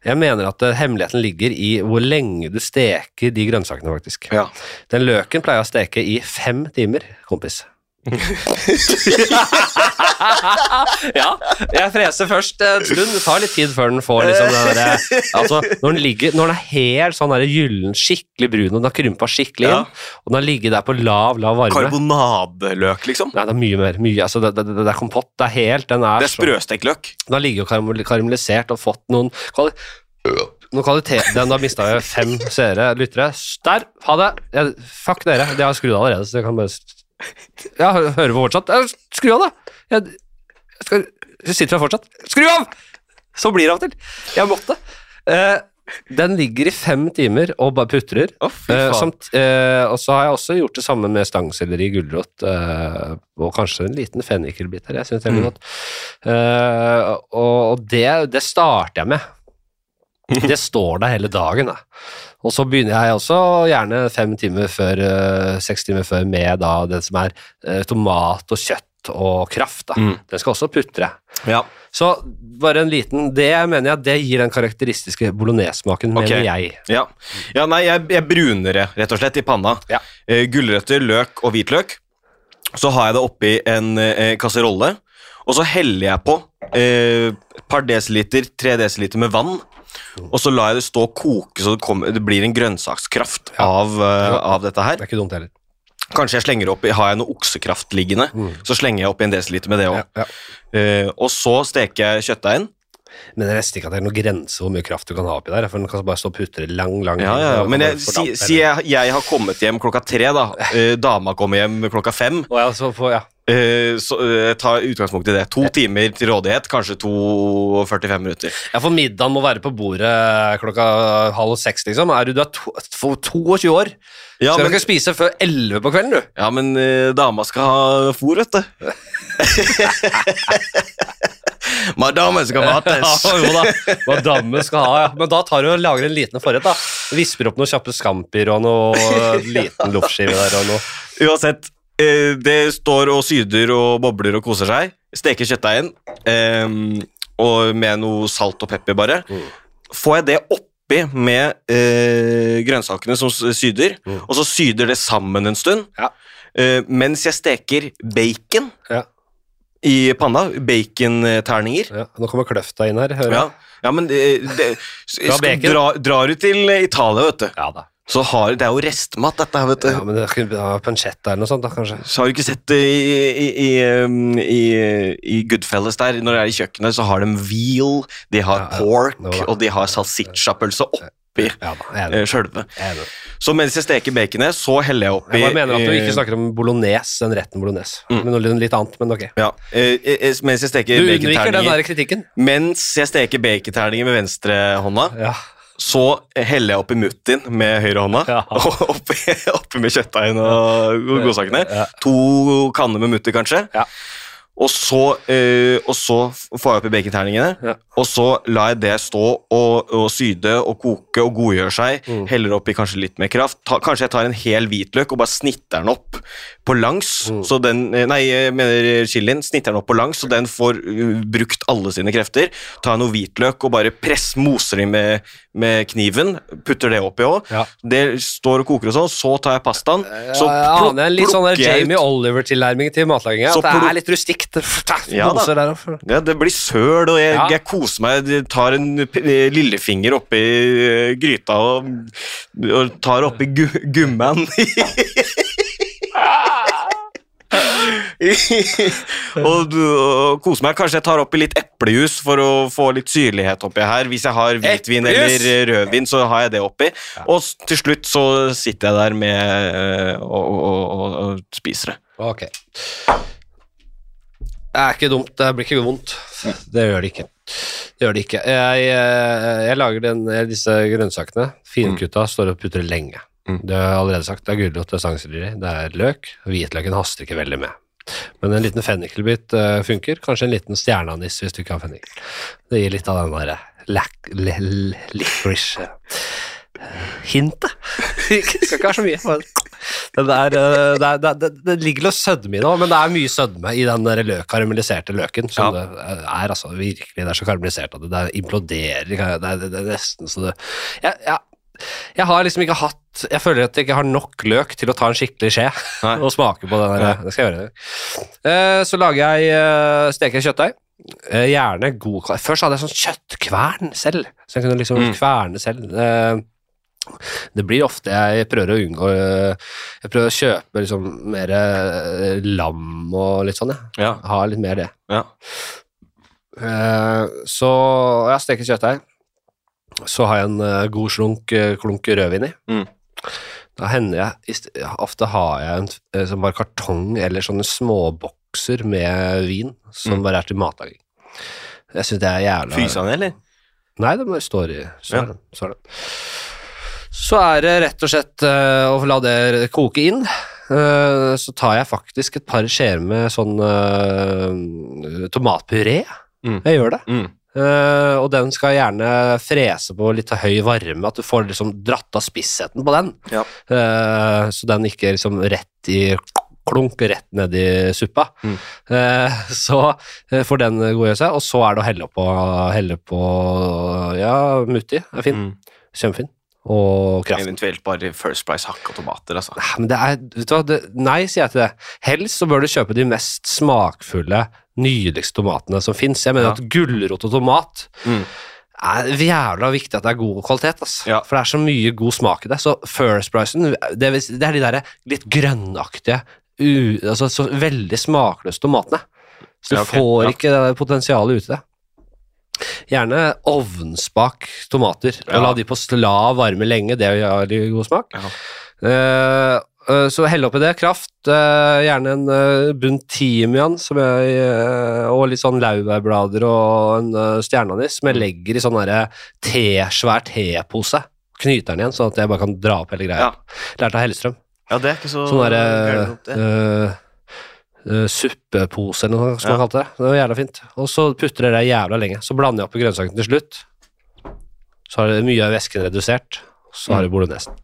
[SPEAKER 1] Jeg mener at øh, hemmeligheten ligger i hvor lenge du steker de grønnsakene, faktisk.
[SPEAKER 2] Ja.
[SPEAKER 1] Den løken pleier jeg å steke i fem timer, kompis. ja, jeg freser først en stund. Det tar litt tid før den får liksom den der, altså, når, den ligger, når den er helt sånn der gyllen, skikkelig brun, og den har krympa skikkelig inn,
[SPEAKER 2] Ja.
[SPEAKER 1] og den har ligget der på lav, lav varme
[SPEAKER 2] Karbonadeløk, liksom.
[SPEAKER 1] Nei, det er mye mer. Mye, altså, det, det, det det er kompott. Det er helt Den er
[SPEAKER 2] Det er
[SPEAKER 1] så-
[SPEAKER 2] sprøstekt løk.
[SPEAKER 1] Den har ligget og karamell- karamellisert og fått noen kvali noen kvalitet Den har mista jeg fem seere, lyttere. Der! Ha det! Jeg, fuck dere. Det har jeg skrudd av allerede, så jeg kan bare s- Ja, hø- hører på fortsatt. Ja, Skru av, da! Jeg, jeg, skal, jeg sitter her fortsatt. Skru av! Så blir det av og til. Jeg måtte. Eh, den ligger i fem timer og bare putrer.
[SPEAKER 2] Å, fy
[SPEAKER 1] Eh,
[SPEAKER 2] faen.
[SPEAKER 1] samt, eh, og så har jeg også gjort det samme med stangselleri, gulrot eh, og kanskje en liten fennikelbit her. Jeg synes det
[SPEAKER 2] Mm.
[SPEAKER 1] er litt godt. Eh, og og det, det starter jeg med. Det står der hele dagen. Da. Og så begynner jeg også gjerne fem timer før, eh, seks timer før med da, det som er eh, tomat og kjøtt og kraft. Da.
[SPEAKER 2] Mm.
[SPEAKER 1] Den skal også putre.
[SPEAKER 2] Ja.
[SPEAKER 1] Så bare en liten Det mener jeg det gir den karakteristiske bolognese-smaken,
[SPEAKER 2] Ok.
[SPEAKER 1] mener jeg.
[SPEAKER 2] Ja, ja nei, jeg, jeg bruner det rett og slett i panna.
[SPEAKER 1] Ja.
[SPEAKER 2] Eh, gulrøtter, løk og hvitløk. Så har jeg det oppi en eh, kasserolle, og så heller jeg på eh, et par desiliter, tre desiliter med vann. Og så lar jeg det stå og koke, så det, kommer, det blir en grønnsakskraft av, eh, av dette her.
[SPEAKER 1] Det er ikke dumt heller.
[SPEAKER 2] Kanskje jeg slenger oppi, Har jeg noe oksekraft liggende, så slenger jeg oppi en desiliter med det òg.
[SPEAKER 1] Mm. Ja,
[SPEAKER 2] Eh, og så steker jeg kjøttdeigen.
[SPEAKER 1] Men jeg nesten ikke at det er noen grense hvor mye kraft du kan ha oppi der. For den kan bare stå og putre lang, lang
[SPEAKER 2] Ja, ja, ja. Men jeg, si, si jeg, jeg har kommet hjem klokka tre, da. Eh, dama kommer hjem klokka fem.
[SPEAKER 1] Og jeg så får, ja.
[SPEAKER 2] Eh, så eh, ta utgangspunkt i det. To timer til rådighet, kanskje 2,45 minutter.
[SPEAKER 1] ja, for middagen må være på bordet klokka halv seks, liksom. Er du, du er to, for 22 år,
[SPEAKER 2] Ja,
[SPEAKER 1] så du
[SPEAKER 2] men,
[SPEAKER 1] kan ikke spise før 11 på kvelden, du.
[SPEAKER 2] ja, men eh, dama skal ha fôr, vet du. Madame skal mates.
[SPEAKER 1] jo da. Madame skal ha, ja. Men da tar du og lager en liten forrett, da. Visper opp noen kjappe scampier og noe eh, liten loffskive der og noe.
[SPEAKER 2] Uansett, eh, det står og syder og bobler og koser seg. Steker kjøttdeigen, eh, og med noe salt og pepper, bare.
[SPEAKER 1] Mm.
[SPEAKER 2] Får jeg det oppi med eh, grønnsakene som s- syder,
[SPEAKER 1] Mm.
[SPEAKER 2] og så syder det sammen en stund.
[SPEAKER 1] Ja.
[SPEAKER 2] Eh, mens jeg steker bacon
[SPEAKER 1] Ja.
[SPEAKER 2] i panna, baconterninger.
[SPEAKER 1] Ja, nå kommer kløfta inn her, hører jeg.
[SPEAKER 2] Ja. ja, men det, det,
[SPEAKER 1] Bra
[SPEAKER 2] skal,
[SPEAKER 1] bacon.
[SPEAKER 2] dra, drar du til Italia, vet du,
[SPEAKER 1] Ja da.
[SPEAKER 2] så har det er jo restmat, dette her, vet du.
[SPEAKER 1] Ja, men det er ja, pancetta eller noe sånt, da, kanskje.
[SPEAKER 2] Så har du ikke sett det i, i, i, um, i, i Goodfellas der, når det er i kjøkkenet, så har de veal, de har
[SPEAKER 1] Ja, ja.
[SPEAKER 2] pork,
[SPEAKER 1] Det var det.
[SPEAKER 2] og de har salsicciapølse oppi
[SPEAKER 1] Ja da, jeg er enig.
[SPEAKER 2] eh, sjølve.
[SPEAKER 1] Jeg er enig.
[SPEAKER 2] Så mens jeg steker baconet, så heller jeg oppi
[SPEAKER 1] Jeg bare mener at du ikke
[SPEAKER 2] eh,
[SPEAKER 1] snakker om bolognese, den retten bolognese. Men noe litt- litt annet, men ok.
[SPEAKER 2] ja, eh, eh, Mens jeg
[SPEAKER 1] Du
[SPEAKER 2] steker
[SPEAKER 1] unnviker den
[SPEAKER 2] baconterninger
[SPEAKER 1] der kritikken.
[SPEAKER 2] Mens jeg steker baconterninger med venstrehånda,
[SPEAKER 1] Ja.
[SPEAKER 2] så heller jeg oppi muttin med høyrehånda.
[SPEAKER 1] Ja.
[SPEAKER 2] Og oppi, oppi med kjøttdeigen og og godsakene.
[SPEAKER 1] Ja.
[SPEAKER 2] To kanner med mutter, kanskje.
[SPEAKER 1] Ja.
[SPEAKER 2] Og så, eh, og så får jeg oppi baconterningene,
[SPEAKER 1] Ja.
[SPEAKER 2] og så lar jeg det stå og, og syde og koke og godgjøre seg.
[SPEAKER 1] Mm.
[SPEAKER 2] Heller oppi kanskje litt mer kraft. Ta, kanskje jeg tar en hel hvitløk og bare snitter den opp på langs.
[SPEAKER 1] Mm.
[SPEAKER 2] Så den, eh, nei, jeg mener chilien. Snitter den opp på langs, så den får eh, brukt alle sine krefter. Tar noe hvitløk og bare press, moser den med, med kniven. Putter det oppi òg.
[SPEAKER 1] Ja.
[SPEAKER 2] Det står og koker og sånn. Så tar jeg pastaen. Så
[SPEAKER 1] Så jeg
[SPEAKER 2] pluk-
[SPEAKER 1] aner en litt sånn der
[SPEAKER 2] plukker jeg ut-
[SPEAKER 1] Jamie Oliver-tilnærming til matlaginga.
[SPEAKER 2] Så
[SPEAKER 1] At det
[SPEAKER 2] plukk-
[SPEAKER 1] er litt rustikt.
[SPEAKER 2] Ja da.
[SPEAKER 1] Moser der og-
[SPEAKER 2] Ja, det blir søl, og jeg,
[SPEAKER 1] Ja.
[SPEAKER 2] jeg koser meg. Jeg tar en p- lillefinger oppi eh, gryta og, og tar oppi gu, gummen. og, du- og koser meg. Kanskje jeg tar oppi litt eplejus for å få litt syrlighet oppi her. Hvis jeg har hvitvin
[SPEAKER 1] Eplejus?
[SPEAKER 2] eller rødvin, så har jeg det oppi. Og s- til slutt så sitter jeg der med eh, og, og, og, og spiser det.
[SPEAKER 1] Ok. Det er ikke dumt. Det blir ikke vondt. Det gjør det ikke. Det gjør det ikke. Jeg, eh, jeg lager den, eh, disse grønnsakene. Finkutta står og putrer lenge.
[SPEAKER 2] Mm.
[SPEAKER 1] Det har jeg allerede sagt. Det er gulrot, det er stangselleri, det er løk. Hvitløken haster ikke veldig med. Men en liten fennikelbit eh, funker. Kanskje en liten stjerneanis hvis du ikke har fennikel. Det gir litt av den derre lac- le- le- licorice eh, hintet. Det skal ikke være så mye. bare- Den der, eh, det, er, det, er- det, det ligger litt sødme i det òg, men det er mye sødme i den der løk, karamelliserte løken. Som
[SPEAKER 2] Ja.
[SPEAKER 1] det er altså virkelig Det er så karamellisert at det, det imploderer. Det er, det, det er nesten så det jeg, jeg, jeg har liksom ikke hatt Jeg føler at jeg ikke har nok løk til å ta en skikkelig skje
[SPEAKER 2] Nei.
[SPEAKER 1] og smake på den der.
[SPEAKER 2] Nei.
[SPEAKER 1] Det skal jeg gjøre. Eh, Så lager jeg eh, steker jeg kjøttdeig. Eh, Gjerne god kva- Først hadde jeg sånn kjøttkvern selv, så jeg kunne liksom
[SPEAKER 2] Mm.
[SPEAKER 1] kverne selv. Eh, Det blir ofte jeg prøver å unngå eh, Jeg prøver å kjøpe liksom mer eh, lam og litt sånn, jeg.
[SPEAKER 2] Ja.
[SPEAKER 1] Ha litt mer det.
[SPEAKER 2] ja.
[SPEAKER 1] Eh, Så jeg steker kjøttdeig. Så har jeg en eh, god slunk eh, klunk rødvin i.
[SPEAKER 2] Mm.
[SPEAKER 1] Da hender jeg ist- ja, Ofte har jeg en eh, sånn bare kartong eller sånne småbokser med vin som
[SPEAKER 2] Mm.
[SPEAKER 1] bare er til matlaging. Jeg syns det er jævla
[SPEAKER 2] Fryser han, eller?
[SPEAKER 1] Nei, det bare står i står
[SPEAKER 2] Ja.
[SPEAKER 1] det, står det. Så er det rett og slett eh, å la det koke inn. Eh, så tar jeg faktisk et par skjeer med sånn eh, tomatpuré.
[SPEAKER 2] Mm.
[SPEAKER 1] Jeg gjør det.
[SPEAKER 2] Mm.
[SPEAKER 1] Eh, og den skal gjerne frese på litt høy varme, at du får liksom dratt av spissheten på den.
[SPEAKER 2] Ja.
[SPEAKER 1] Eh, så den ikke liksom rett i klunk, rett ned i suppa.
[SPEAKER 2] Mm.
[SPEAKER 1] Eh, så eh, får den godgjøre seg, og så er det å helle på, helle på ja, mutti er fin.
[SPEAKER 2] Mm.
[SPEAKER 1] Kjempefin. Og kraft.
[SPEAKER 2] Eventuelt bare First Price hakka tomater, altså.
[SPEAKER 1] Nei, Men det er, vet du hva, det, nei, sier jeg til det. Helst så bør du kjøpe de mest smakfulle, nydeligste tomatene som fins. Jeg mener
[SPEAKER 2] Ja.
[SPEAKER 1] at gulrot og tomat
[SPEAKER 2] Mm.
[SPEAKER 1] er jævla viktig at det er god kvalitet, ass.
[SPEAKER 2] Ja.
[SPEAKER 1] For det er så mye god smak i det. Så First Pricen, det, vil si- det er de derre litt grønnaktige, u, altså så veldig smakløse tomatene. Så du
[SPEAKER 2] Ja, ok,
[SPEAKER 1] får
[SPEAKER 2] ja.
[SPEAKER 1] ikke det der potensialet ute i det. Gjerne ovnsbak tomater, og
[SPEAKER 2] Ja.
[SPEAKER 1] la de på lav varme lenge, det gjør de god smak.
[SPEAKER 2] Ja.
[SPEAKER 1] Eh, eh, så hell oppi det. Kraft. eh, gjerne en eh, bunt timian som jeg, eh, og litt sånn laurbærblader og en eh, stjerneanis som jeg legger i sånn derre te, svær tepose. Knyter den igjen, sånn at jeg bare kan dra opp hele greia.
[SPEAKER 2] Ja.
[SPEAKER 1] Lærte av Hellstrøm.
[SPEAKER 2] ja, det er ikke så
[SPEAKER 1] Sånn derre
[SPEAKER 2] gærent, det.
[SPEAKER 1] eh, eh, suppepose eller noe sånt, som
[SPEAKER 2] Ja.
[SPEAKER 1] man kalte det. Det var jævla fint. Og så putter jeg det jævla lenge. Så blander jeg oppi grønnsakene til slutt. Så har det mye av væsken redusert. Så
[SPEAKER 2] Mm.
[SPEAKER 1] har du bolognesen.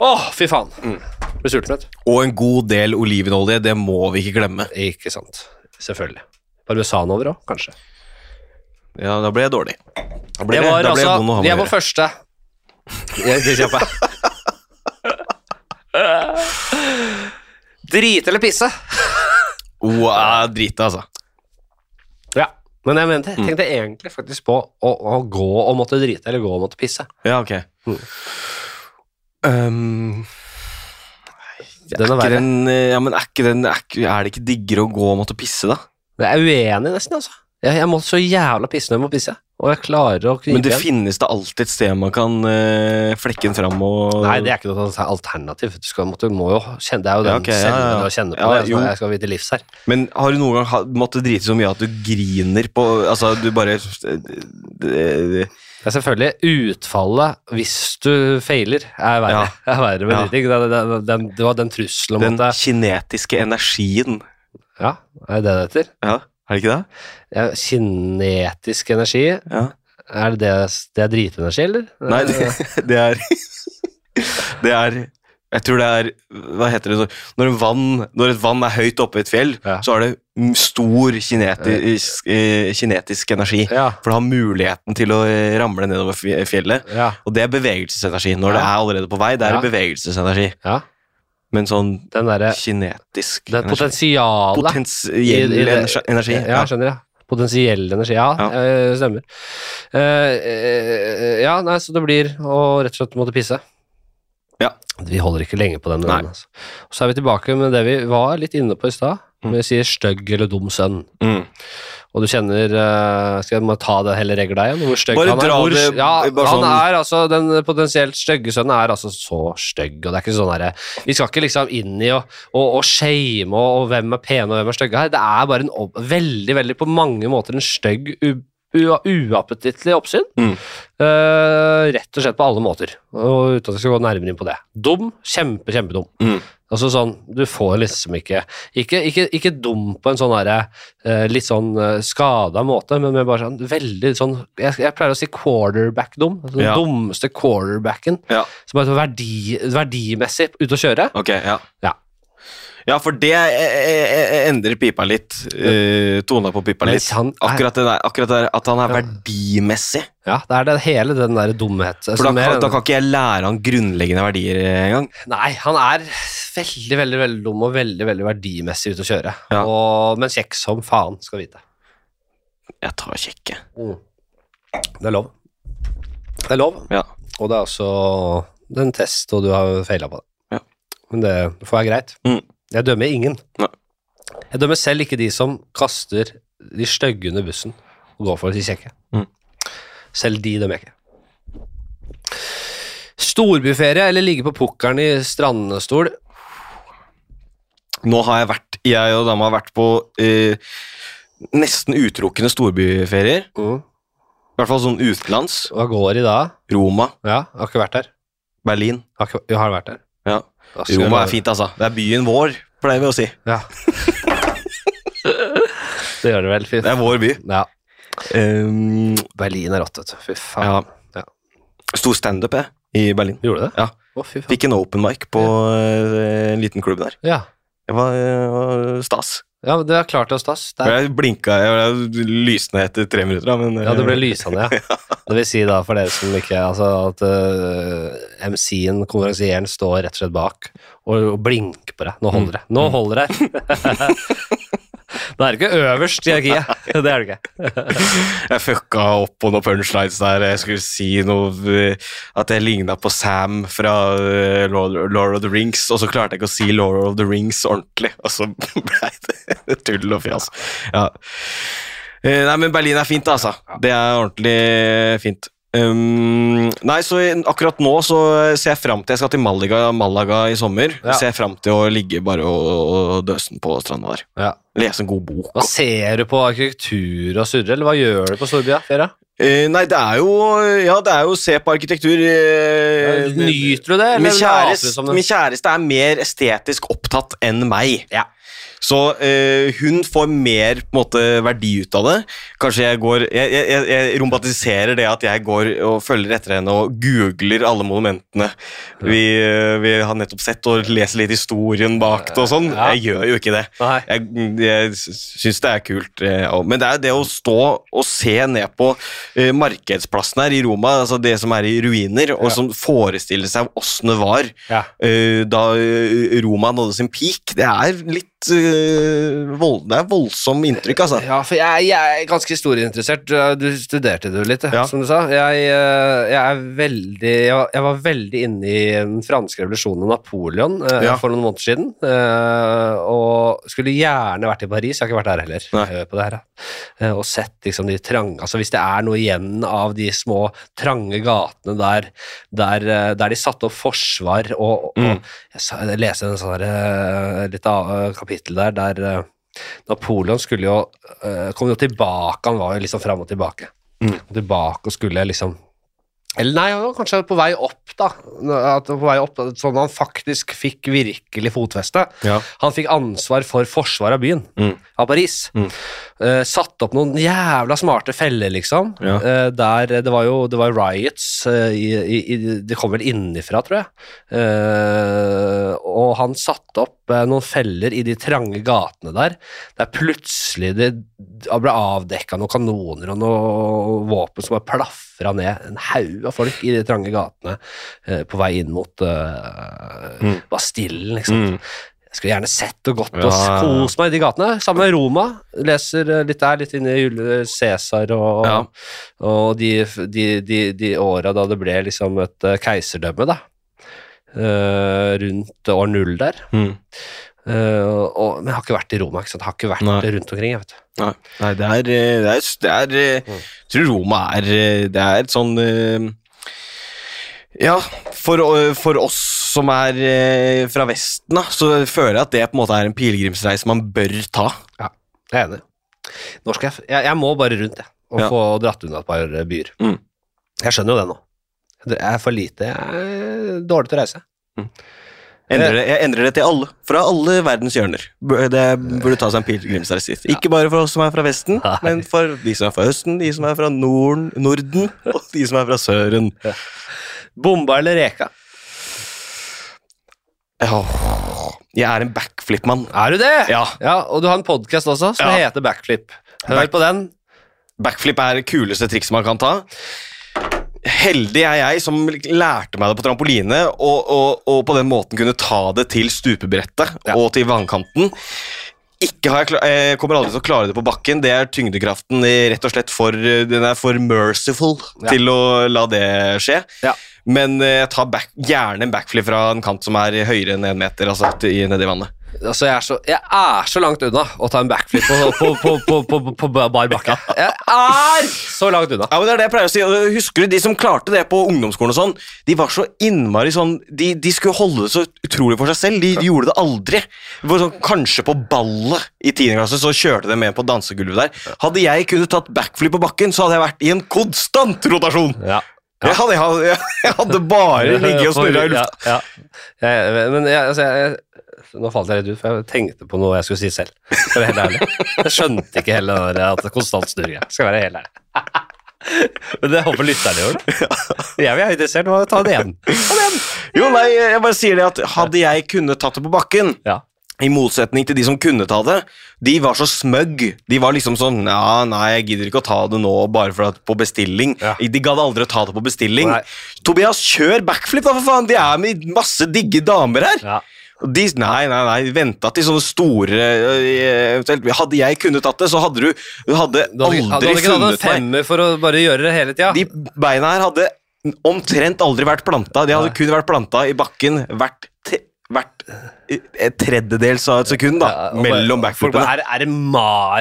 [SPEAKER 1] Å, fy faen. Blir sulten, vet du.
[SPEAKER 2] Og en god del olivenolje, det må vi ikke glemme.
[SPEAKER 1] Ikke sant. Selvfølgelig. Parmesan over òg, kanskje.
[SPEAKER 2] Ja, da ble jeg dårlig. Da ble
[SPEAKER 1] Det
[SPEAKER 2] jeg-
[SPEAKER 1] var
[SPEAKER 2] da ble jeg
[SPEAKER 1] altså
[SPEAKER 2] vond å ha med
[SPEAKER 1] Det
[SPEAKER 2] å
[SPEAKER 1] var
[SPEAKER 2] gjøre.
[SPEAKER 1] første. Jeg skal kjappe. Drite eller pisse?
[SPEAKER 2] Wow, drit, altså.
[SPEAKER 1] Ja. Men jeg mente,
[SPEAKER 2] Mm.
[SPEAKER 1] tenkte egentlig faktisk på å, å gå og måtte drite eller gå og måtte pisse.
[SPEAKER 2] Ja, ok.
[SPEAKER 1] Mm.
[SPEAKER 2] Um,
[SPEAKER 1] Den er
[SPEAKER 2] ikke
[SPEAKER 1] verre.
[SPEAKER 2] den, eh, ja, men er, ikke den, er, ikke- er det ikke diggere å gå og måtte pisse, da?
[SPEAKER 1] Jeg er uenig nesten, altså. Jeg, jeg må så jævla pisse når jeg må pisse. Og jeg klarer å
[SPEAKER 2] Men
[SPEAKER 1] krype
[SPEAKER 2] det
[SPEAKER 1] igjen.
[SPEAKER 2] finnes da alltid et sted man kan eh, flekke den fram og
[SPEAKER 1] Nei, det er ikke noe sånn alternativ. Du skal, måtte, må jo kjenne, det er jo den
[SPEAKER 2] Ja, ok, ja, ja, ja.
[SPEAKER 1] selv å kjenne på.
[SPEAKER 2] Ja,
[SPEAKER 1] det,
[SPEAKER 2] jo.
[SPEAKER 1] altså, jeg skal vite livs her.
[SPEAKER 2] Men har du noen gang ha- måttet drite så mye at du griner på Altså, du bare det- det-
[SPEAKER 1] Ja, selvfølgelig. Utfallet, hvis du feiler, er verre. Er verre med
[SPEAKER 2] Ja.
[SPEAKER 1] driting. Det, det, det, den, det var den trusselen om
[SPEAKER 2] Den
[SPEAKER 1] at det-
[SPEAKER 2] kinetiske energien.
[SPEAKER 1] Ja, er det det heter?
[SPEAKER 2] Ja, er det ikke det?
[SPEAKER 1] Ja, kinetisk energi,
[SPEAKER 2] Ja.
[SPEAKER 1] er det, det, det er dritenergi, eller?
[SPEAKER 2] Nei, det, det er Det er Jeg tror det er Hva heter det så- Når, en vann, når et vann er høyt oppe i et fjell,
[SPEAKER 1] Ja.
[SPEAKER 2] så har det m- stor kinetisk, eh, kinetisk energi.
[SPEAKER 1] Ja.
[SPEAKER 2] For det har muligheten til å eh, ramle nedover fj- fjellet.
[SPEAKER 1] Ja.
[SPEAKER 2] Og det er bevegelsesenergi. Når det
[SPEAKER 1] Ja.
[SPEAKER 2] er allerede på vei, det er
[SPEAKER 1] Ja.
[SPEAKER 2] bevegelsesenergi.
[SPEAKER 1] ja.
[SPEAKER 2] Men sånn
[SPEAKER 1] Den derre
[SPEAKER 2] kinetisk
[SPEAKER 1] Det
[SPEAKER 2] energi
[SPEAKER 1] potensialet
[SPEAKER 2] Potensiell
[SPEAKER 1] I- i det-
[SPEAKER 2] energi. energi.
[SPEAKER 1] Ja, jeg skjønner, ja. Potensiell energi, ja,
[SPEAKER 2] Ja.
[SPEAKER 1] eh, stemmer. Eh, eh, ja, nei, så det blir å rett og slett måtte pisse.
[SPEAKER 2] Ja.
[SPEAKER 1] Vi holder ikke lenge på den.
[SPEAKER 2] Nei.
[SPEAKER 1] den, altså. Så er vi tilbake med det vi var litt inne på i stad.
[SPEAKER 2] Mm.
[SPEAKER 1] Vi sier stygg eller dum sønn.
[SPEAKER 2] Mm.
[SPEAKER 1] Og du kjenner eh, Skal jeg må ta det heller regler deg igjen? Hvor stygg
[SPEAKER 2] Bare
[SPEAKER 1] han er?
[SPEAKER 2] dra
[SPEAKER 1] Hvor,
[SPEAKER 2] det,
[SPEAKER 1] ja,
[SPEAKER 2] bare
[SPEAKER 1] han
[SPEAKER 2] sånn.
[SPEAKER 1] er altså Den potensielt stygge sønnen er altså så stygg, og det er ikke sånn herre Vi skal ikke liksom inn i og, og, og shame og, og hvem er pene og hvem er stygge her. Det er bare en opp, veldig, veldig på mange måter en stygg, u- u- uappetittlig oppsyn.
[SPEAKER 2] Mm.
[SPEAKER 1] Eh, rett og slett på alle måter, og uten at jeg skal gå nærmere inn på det. Dum. Kjempe, kjempedum.
[SPEAKER 2] Mm.
[SPEAKER 1] Altså sånn, Du får liksom ikke Ikke, ikke, ikke dum på en sånn herre eh, litt sånn eh, skada måte, men med bare sånn veldig sånn Jeg, jeg pleier å si quarterback-dum. altså Den
[SPEAKER 2] Ja.
[SPEAKER 1] dummeste quarterbacken
[SPEAKER 2] Ja.
[SPEAKER 1] som er så verdi, verdimessig ute å kjøre.
[SPEAKER 2] Ok, ja.
[SPEAKER 1] Ja.
[SPEAKER 2] Ja, for det eh, eh, eh, endrer pipa litt. Eh, tona på pipa
[SPEAKER 1] Men
[SPEAKER 2] litt.
[SPEAKER 1] han er-
[SPEAKER 2] Akkurat det der, akkurat det der at han er
[SPEAKER 1] Ja.
[SPEAKER 2] verdimessig.
[SPEAKER 1] Ja, Det er det hele den der dumhet. altså
[SPEAKER 2] For da,
[SPEAKER 1] som er- sånn
[SPEAKER 2] kan- da kan ikke jeg lære han grunnleggende verdier eh, engang.
[SPEAKER 1] Nei, han er veldig, veldig veldig dum og veldig veldig verdimessig ute å kjøre.
[SPEAKER 2] Ja.
[SPEAKER 1] Og, men kjekk som faen, skal vite.
[SPEAKER 2] Jeg tar kjekke.
[SPEAKER 1] Det er lov. Det er lov,
[SPEAKER 2] Ja.
[SPEAKER 1] og det er også det er en test, og du har feila på det.
[SPEAKER 2] Ja.
[SPEAKER 1] Men det får være greit.
[SPEAKER 2] Mm.
[SPEAKER 1] Jeg dømmer ingen.
[SPEAKER 2] Nei.
[SPEAKER 1] Jeg dømmer selv ikke de som kaster de stygge under bussen og går for de kjekke.
[SPEAKER 2] Mm.
[SPEAKER 1] Selv de dømmer jeg ikke. Storbyferie eller ligge på pukkelen i strandstol.
[SPEAKER 2] Nå har jeg vært, jeg og dama har vært på eh, nesten utelukkende storbyferier.
[SPEAKER 1] Mm.
[SPEAKER 2] I hvert fall sånn utenlands.
[SPEAKER 1] Hva går i da?
[SPEAKER 2] Roma,
[SPEAKER 1] Ja, jeg har ikke vært der.
[SPEAKER 2] Berlin.
[SPEAKER 1] Jeg har, ikke, jeg har vært der.
[SPEAKER 2] Ja.
[SPEAKER 1] Da skal
[SPEAKER 2] Roma
[SPEAKER 1] jeg-
[SPEAKER 2] er fint, altså. Det er byen vår, pleier vi å si.
[SPEAKER 1] Ja. det gjør det vel. Fy
[SPEAKER 2] Det er vår by.
[SPEAKER 1] Ja.
[SPEAKER 2] Um,
[SPEAKER 1] Berlin er rått, vet du. Fy faen.
[SPEAKER 2] ja.
[SPEAKER 1] Ja.
[SPEAKER 2] Stor standup, jeg, i Berlin.
[SPEAKER 1] Gjorde du det?
[SPEAKER 2] Ja.
[SPEAKER 1] Å, fy faen.
[SPEAKER 2] Fikk en open mic på eh, en liten klubb der.
[SPEAKER 1] Ja.
[SPEAKER 2] Det var eh, stas.
[SPEAKER 1] ja, men det er klart det er stas. Det er,
[SPEAKER 2] Jeg blinka, jeg ble lysende etter tre minutter, da, men eh,
[SPEAKER 1] ja, det ble lysende, ja. Det vil si da, for dere som ikke Altså at eh, MC-en, konferansieren, står rett og slett bak og, og blinker på deg. Nå holder det. Nå
[SPEAKER 2] Mm.
[SPEAKER 1] holder det. det er ikke øverst i hierarkiet. Det er det ikke.
[SPEAKER 2] jeg fucka opp på noen punchlines der. Jeg skulle si noe eh, At jeg ligna på Sam fra eh, Lord Lord of the Rings, og så klarte jeg ikke å si Lord of the Rings ordentlig, og så blei det tull og fjas. Ja. Eh, Nei, men Berlin er fint, altså. Det er ordentlig eh, fint. Um, nei, så i- akkurat nå så ser jeg fram til Jeg skal til Malaga, Malaga i sommer.
[SPEAKER 1] Ja.
[SPEAKER 2] Ser jeg fram til å ligge bare og, og døse den på stranda der.
[SPEAKER 1] Ja.
[SPEAKER 2] Lese en god bok.
[SPEAKER 1] Hva ser du på arkitektur og surre, eller hva gjør du på Storbya? Fera?
[SPEAKER 2] Eh, nei, det er jo Ja, det er jo se på arkitektur eh,
[SPEAKER 1] Nyter du det, eller later
[SPEAKER 2] min,
[SPEAKER 1] du
[SPEAKER 2] kjæreste,
[SPEAKER 1] som det?
[SPEAKER 2] min kjæreste er mer estetisk opptatt enn meg.
[SPEAKER 1] Ja.
[SPEAKER 2] Så eh, hun får mer på en måte, verdi ut av det. Kanskje jeg går jeg, jeg, jeg- jeg romantiserer det at jeg går og følger etter henne og googler alle monumentene vi, eh, vi har nettopp sett, og leser litt historien bak det og sånn.
[SPEAKER 1] Ja.
[SPEAKER 2] Jeg gjør jo ikke det
[SPEAKER 1] Nei.
[SPEAKER 2] jeg, jeg syns det er kult. eh, og- Men det er det å stå og se ned på eh, markedsplassen her i Roma, altså det som er i ruiner, og som forestiller seg åssen det var
[SPEAKER 1] Ja.
[SPEAKER 2] eh, da eh, Roma nådde sin peak, det er litt eh, vold, Det er voldsomt inntrykk, altså.
[SPEAKER 1] Ja, for jeg, jeg er ganske historieinteressert. Du studerte det jo litt,
[SPEAKER 2] Ja.
[SPEAKER 1] som du sa. Jeg, eh, jeg er veldig jeg var, jeg var veldig inne i den franske revolusjonen og Napoleon eh,
[SPEAKER 2] Ja.
[SPEAKER 1] for noen måneder siden. eh, Og skulle gjerne vært i Paris. Jeg har ikke vært der heller.
[SPEAKER 2] Nei.
[SPEAKER 1] eh, På det her, eh, og sett liksom de trange Altså Hvis det er noe igjen av de små, trange gatene der, der, eh, der de satte opp forsvar og, og
[SPEAKER 2] Mm.
[SPEAKER 1] Jeg, sa, jeg leste en sånn her, eh, litt av eh, kapittel der der eh, Napoleon skulle jo eh, kom jo tilbake, han var jo liksom fram og tilbake.
[SPEAKER 2] Mm.
[SPEAKER 1] Tilbake og skulle liksom Eller nei, han var kanskje på vei opp, da. At han var på vei opp, sånn han faktisk fikk virkelig fotfeste.
[SPEAKER 2] Ja.
[SPEAKER 1] Han fikk ansvar for forsvaret av byen,
[SPEAKER 2] Mm.
[SPEAKER 1] av Paris.
[SPEAKER 2] Mm.
[SPEAKER 1] Eh, satt opp noen jævla smarte feller, liksom.
[SPEAKER 2] Ja.
[SPEAKER 1] Eh, der det var jo det var riots eh, i, i, i, Det kom vel innenfra, tror jeg. Eh, og han satte opp eh, noen feller i de trange gatene der, der plutselig det ble avdekka noen kanoner og noen våpen som bare plafra ned en haug av folk i de trange gatene eh, på vei inn mot eh,
[SPEAKER 2] Mm.
[SPEAKER 1] Bastillen, liksom.
[SPEAKER 2] Mm.
[SPEAKER 1] Jeg skulle gjerne sett og gått
[SPEAKER 2] Ja,
[SPEAKER 1] og
[SPEAKER 2] ja, ja.
[SPEAKER 1] kost meg i de gatene. Sammen med Roma. Leser eh, litt der, litt inne i Jule- Cæsar og,
[SPEAKER 2] Ja.
[SPEAKER 1] og de, de, de, de åra da det ble liksom et eh, keiserdømme, da. Eh, rundt år null der.
[SPEAKER 2] Mm.
[SPEAKER 1] Eh, og, men jeg har ikke vært i Roma, ikke sant. Jeg har ikke vært
[SPEAKER 2] Nei.
[SPEAKER 1] rundt omkring, jeg, vet du.
[SPEAKER 2] Nei, nei, det er, eh, det er, det er eh, Jeg tror Roma er eh, Det er et sånn eh, Ja, for, eh, for oss som er eh, fra Vesten, da, så føler jeg at det på en måte er en pilegrimsreise man bør ta.
[SPEAKER 1] Jeg er enig. Nå skal jeg, f- jeg, jeg må bare rundt, jeg. Og
[SPEAKER 2] Ja.
[SPEAKER 1] få dratt unna et par eh, byer.
[SPEAKER 2] Mm.
[SPEAKER 1] Jeg skjønner jo det nå. Jeg er for lite Jeg er dårlig til å reise.
[SPEAKER 2] Endrer det, jeg endrer det til alle, fra alle verdens hjørner. Bør- Det burde ta seg en pilegrimsreise dit. Ikke bare for oss som er fra Vesten, men for de som er fra Østen, de som er fra Norden, Norden og de som er fra Søren.
[SPEAKER 1] Bomba eller reka?
[SPEAKER 2] Åh, Jeg er en backflip-mann.
[SPEAKER 1] Er du det?
[SPEAKER 2] Ja.
[SPEAKER 1] Og du har en podkast også som
[SPEAKER 2] Ja.
[SPEAKER 1] heter Backflip. Hør på den.
[SPEAKER 2] Backflip er det kuleste trikset man kan ta. Heldig er jeg som lærte meg det på trampoline, og, og, og på den måten kunne ta det til stupebrettet og til vannkanten. Ikke har jeg, kla- eh, jeg kommer aldri til å klare det på bakken. Det er tyngdekraften eh, rett og slett for eh, Den er for merciful
[SPEAKER 1] Ja.
[SPEAKER 2] til å la det skje.
[SPEAKER 1] Ja.
[SPEAKER 2] Men eh, jeg tar back, gjerne en backflip fra en kant som er høyere enn én meter. Altså, til- i- nedi vannet.
[SPEAKER 1] Altså, jeg, er så, jeg er så langt unna å ta en backflip på, på, på, på, på, på, på bar bakke. Jeg er så langt unna.
[SPEAKER 2] Ja, men det er det jeg pleier å si. og Husker du de som klarte det på ungdomsskolen og sånn? De var så innmari sånn De, de skulle holde det så utrolig for seg selv. De, de gjorde det aldri. Det var sånn, kanskje på ballet i 10. klasse, så kjørte de med på dansegulvet der. Hadde jeg kunnet tatt backflip på bakken, så hadde jeg vært i en konstant rotasjon.
[SPEAKER 1] Ja.
[SPEAKER 2] Jeg, hadde, jeg, hadde, jeg hadde bare ligget og snurra i lufta.
[SPEAKER 1] Ja, ja. Jeg, men jeg, altså, jeg, nå falt jeg litt ut, for jeg tenkte på noe jeg skulle si selv. For å være helt ærlig. Jeg skjønte ikke hele det der at det er konstant snurring. jeg Skal være helt ærlig. Men det håper lytterne gjør. det. Jeg blir interessert i å ta det igjen. Ta det igjen.
[SPEAKER 2] Jo, nei, jeg bare sier det at hadde jeg kunnet tatt det på bakken,
[SPEAKER 1] Ja.
[SPEAKER 2] I motsetning til de som kunne ta det, de var så smøgg. De var liksom sånn Ja, nei, jeg gidder ikke å ta det nå bare for at på bestilling.
[SPEAKER 1] Ja.
[SPEAKER 2] De gadd aldri å ta det på bestilling.
[SPEAKER 1] Nei.
[SPEAKER 2] Tobias, kjør backflip, da, for faen! De er med masse digge damer her.
[SPEAKER 1] Ja.
[SPEAKER 2] Og De, nei, nei, nei, venta til sånne store øh, eventuelt, Hadde jeg kunnet tatt det, så hadde du Du hadde
[SPEAKER 1] Du hadde,
[SPEAKER 2] aldri
[SPEAKER 1] ikke- du hadde ikke hatt en
[SPEAKER 2] funnet meg.
[SPEAKER 1] femmer for å bare gjøre det hele tida.
[SPEAKER 2] De beina her hadde omtrent aldri vært planta. De hadde kun vært planta i bakken hvert, te, hvert eh, tredjedels av et sekund, da.
[SPEAKER 1] Ja, og bare-
[SPEAKER 2] mellom
[SPEAKER 1] folk
[SPEAKER 2] backflipene.
[SPEAKER 1] bare, Er, er det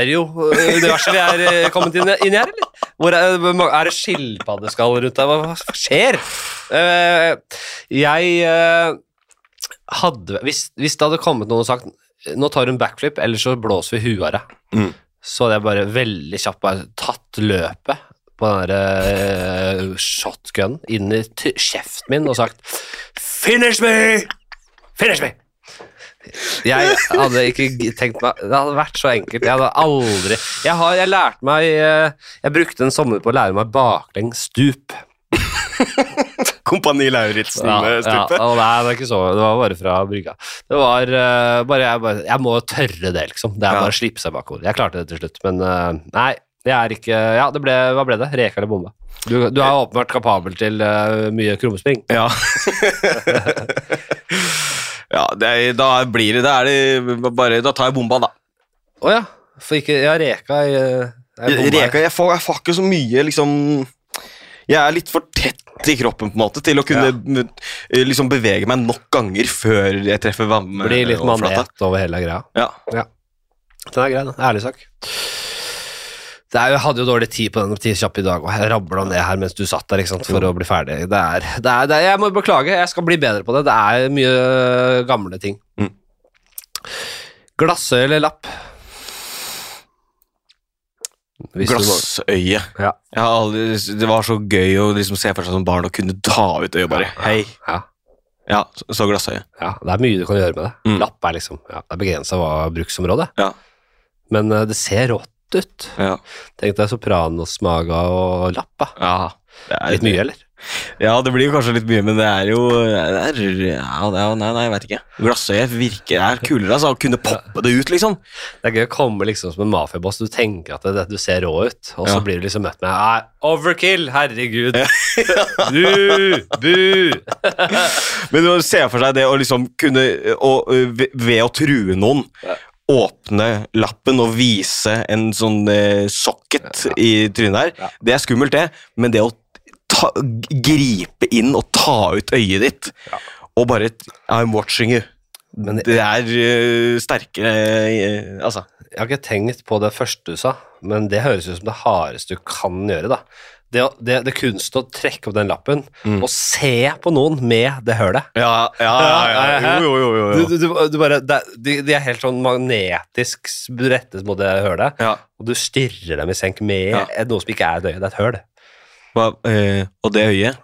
[SPEAKER 1] Mario-universet vi er eh, kommet inn, inn i her, eller? Hvor er, hvor mange- er det skilpaddeskall rundt der? Hva, hva skjer? Eh, jeg eh, hadde hvis, hvis det hadde kommet noen og sagt nå tar du en backflip, eller så blåser vi huet av deg,
[SPEAKER 2] Mm.
[SPEAKER 1] så hadde jeg bare veldig kjapt bare tatt løpet på den der eh, shotgunen inn i t kjeften min og sagt Finish me! Finish me! Jeg hadde ikke g- tenkt meg Det hadde vært så enkelt. Jeg hadde aldri Jeg har jeg lærte meg eh, Jeg brukte en sommer på å lære meg baklengs stup.
[SPEAKER 2] Kompani Lauritzen.
[SPEAKER 1] Ja,
[SPEAKER 2] eh,
[SPEAKER 1] ja,
[SPEAKER 2] stupet.
[SPEAKER 1] og nei, det var ikke så Det var bare fra brygga. Det var eh, bare jeg, bare jeg må tørre det, liksom. Det er
[SPEAKER 2] Ja.
[SPEAKER 1] bare å slippe seg bakover. Jeg klarte det til slutt, men eh, nei. Det er ikke Ja, det ble Hva ble det? Reka eller bomba? Du, du er åpenbart kapabel til eh, mye krummespring.
[SPEAKER 2] Ja. ja, det er, da blir det Da er det bare Da tar jeg bomba, da.
[SPEAKER 1] Å ja. For ikke Ja, reka eh, er, er bomba.
[SPEAKER 2] Reka, jeg får, jeg får ikke så mye, liksom Jeg er litt for tett i kroppen på en måte til å kunne m- liksom bevege meg nok ganger før jeg treffer vann- eh,
[SPEAKER 1] Blir litt
[SPEAKER 2] overflata.
[SPEAKER 1] manet over hele greia.
[SPEAKER 2] Ja.
[SPEAKER 1] Den er grei, da. Ærlig sak. Det er, jo- jeg hadde jo dårlig tid på den ti kjappe i dag, og jeg rabla ned her mens du satt der ikke sant, for å bli ferdig. Det er, det er, det er, jeg må beklage, jeg skal bli bedre på det. Det er mye gamle ting.
[SPEAKER 2] Mm.
[SPEAKER 1] Glassøy eller lapp? Hvis du må-
[SPEAKER 2] Glassøye.
[SPEAKER 1] Ja.
[SPEAKER 2] Jeg har aldri, det var så gøy å liksom se for seg som barn å kunne ta ut øyet bare. Hei.
[SPEAKER 1] Ja,
[SPEAKER 2] Ja, så- så glassøye.
[SPEAKER 1] ja, det er mye du kan gjøre med det.
[SPEAKER 2] Mm.
[SPEAKER 1] Lapp er liksom ja, Det er begrensa hva bruksområdet er.
[SPEAKER 2] Ja.
[SPEAKER 1] Men eh, det ser rått ut.
[SPEAKER 2] Ja.
[SPEAKER 1] Tenk deg Sopranos-maga og lappa.
[SPEAKER 2] ja. Det er
[SPEAKER 1] Litt mye, eller?
[SPEAKER 2] Ja, det blir jo kanskje litt mye, men det er jo det er, ja, det er, Nei, nei, jeg vet ikke. Glassøye virker det er kulere, altså. Å kunne poppe det ut, liksom.
[SPEAKER 1] Det er gøy å komme liksom som en mafiaboss. Du tenker at det, det, du ser rå ut, og så
[SPEAKER 2] Ja.
[SPEAKER 1] blir du liksom møtt med Nei, overkill! Herregud! Bu! Bu!
[SPEAKER 2] Men å se for seg det å liksom kunne å, ø, ved- Ved å true noen Åpne lappen og vise en sånn eh, socket i trynet der. Det er skummelt, det, men det å ta, g- gripe inn og ta ut øyet ditt og bare t- I'm watching you.
[SPEAKER 1] Men jeg,
[SPEAKER 2] Det er eh, sterkere eh, Altså.
[SPEAKER 1] jeg har ikke tenkt på det første du sa, men det høres ut som det hardeste du kan gjøre, da. Det, å- det, det kunsten å trekke opp den lappen
[SPEAKER 2] Mm.
[SPEAKER 1] og se på noen med det hølet.
[SPEAKER 2] Ja, ja,
[SPEAKER 1] ja, ja.
[SPEAKER 2] Jo, jo, jo. jo, jo.
[SPEAKER 1] Du, du, du, du bare, det, er- de, de er helt sånn magnetisk rettet mot det hølet,
[SPEAKER 2] Ja.
[SPEAKER 1] og du stirrer dem i senk med
[SPEAKER 2] Ja.
[SPEAKER 1] noe som ikke er et øye, det er et høl.
[SPEAKER 2] Hva, eh, og det øyet,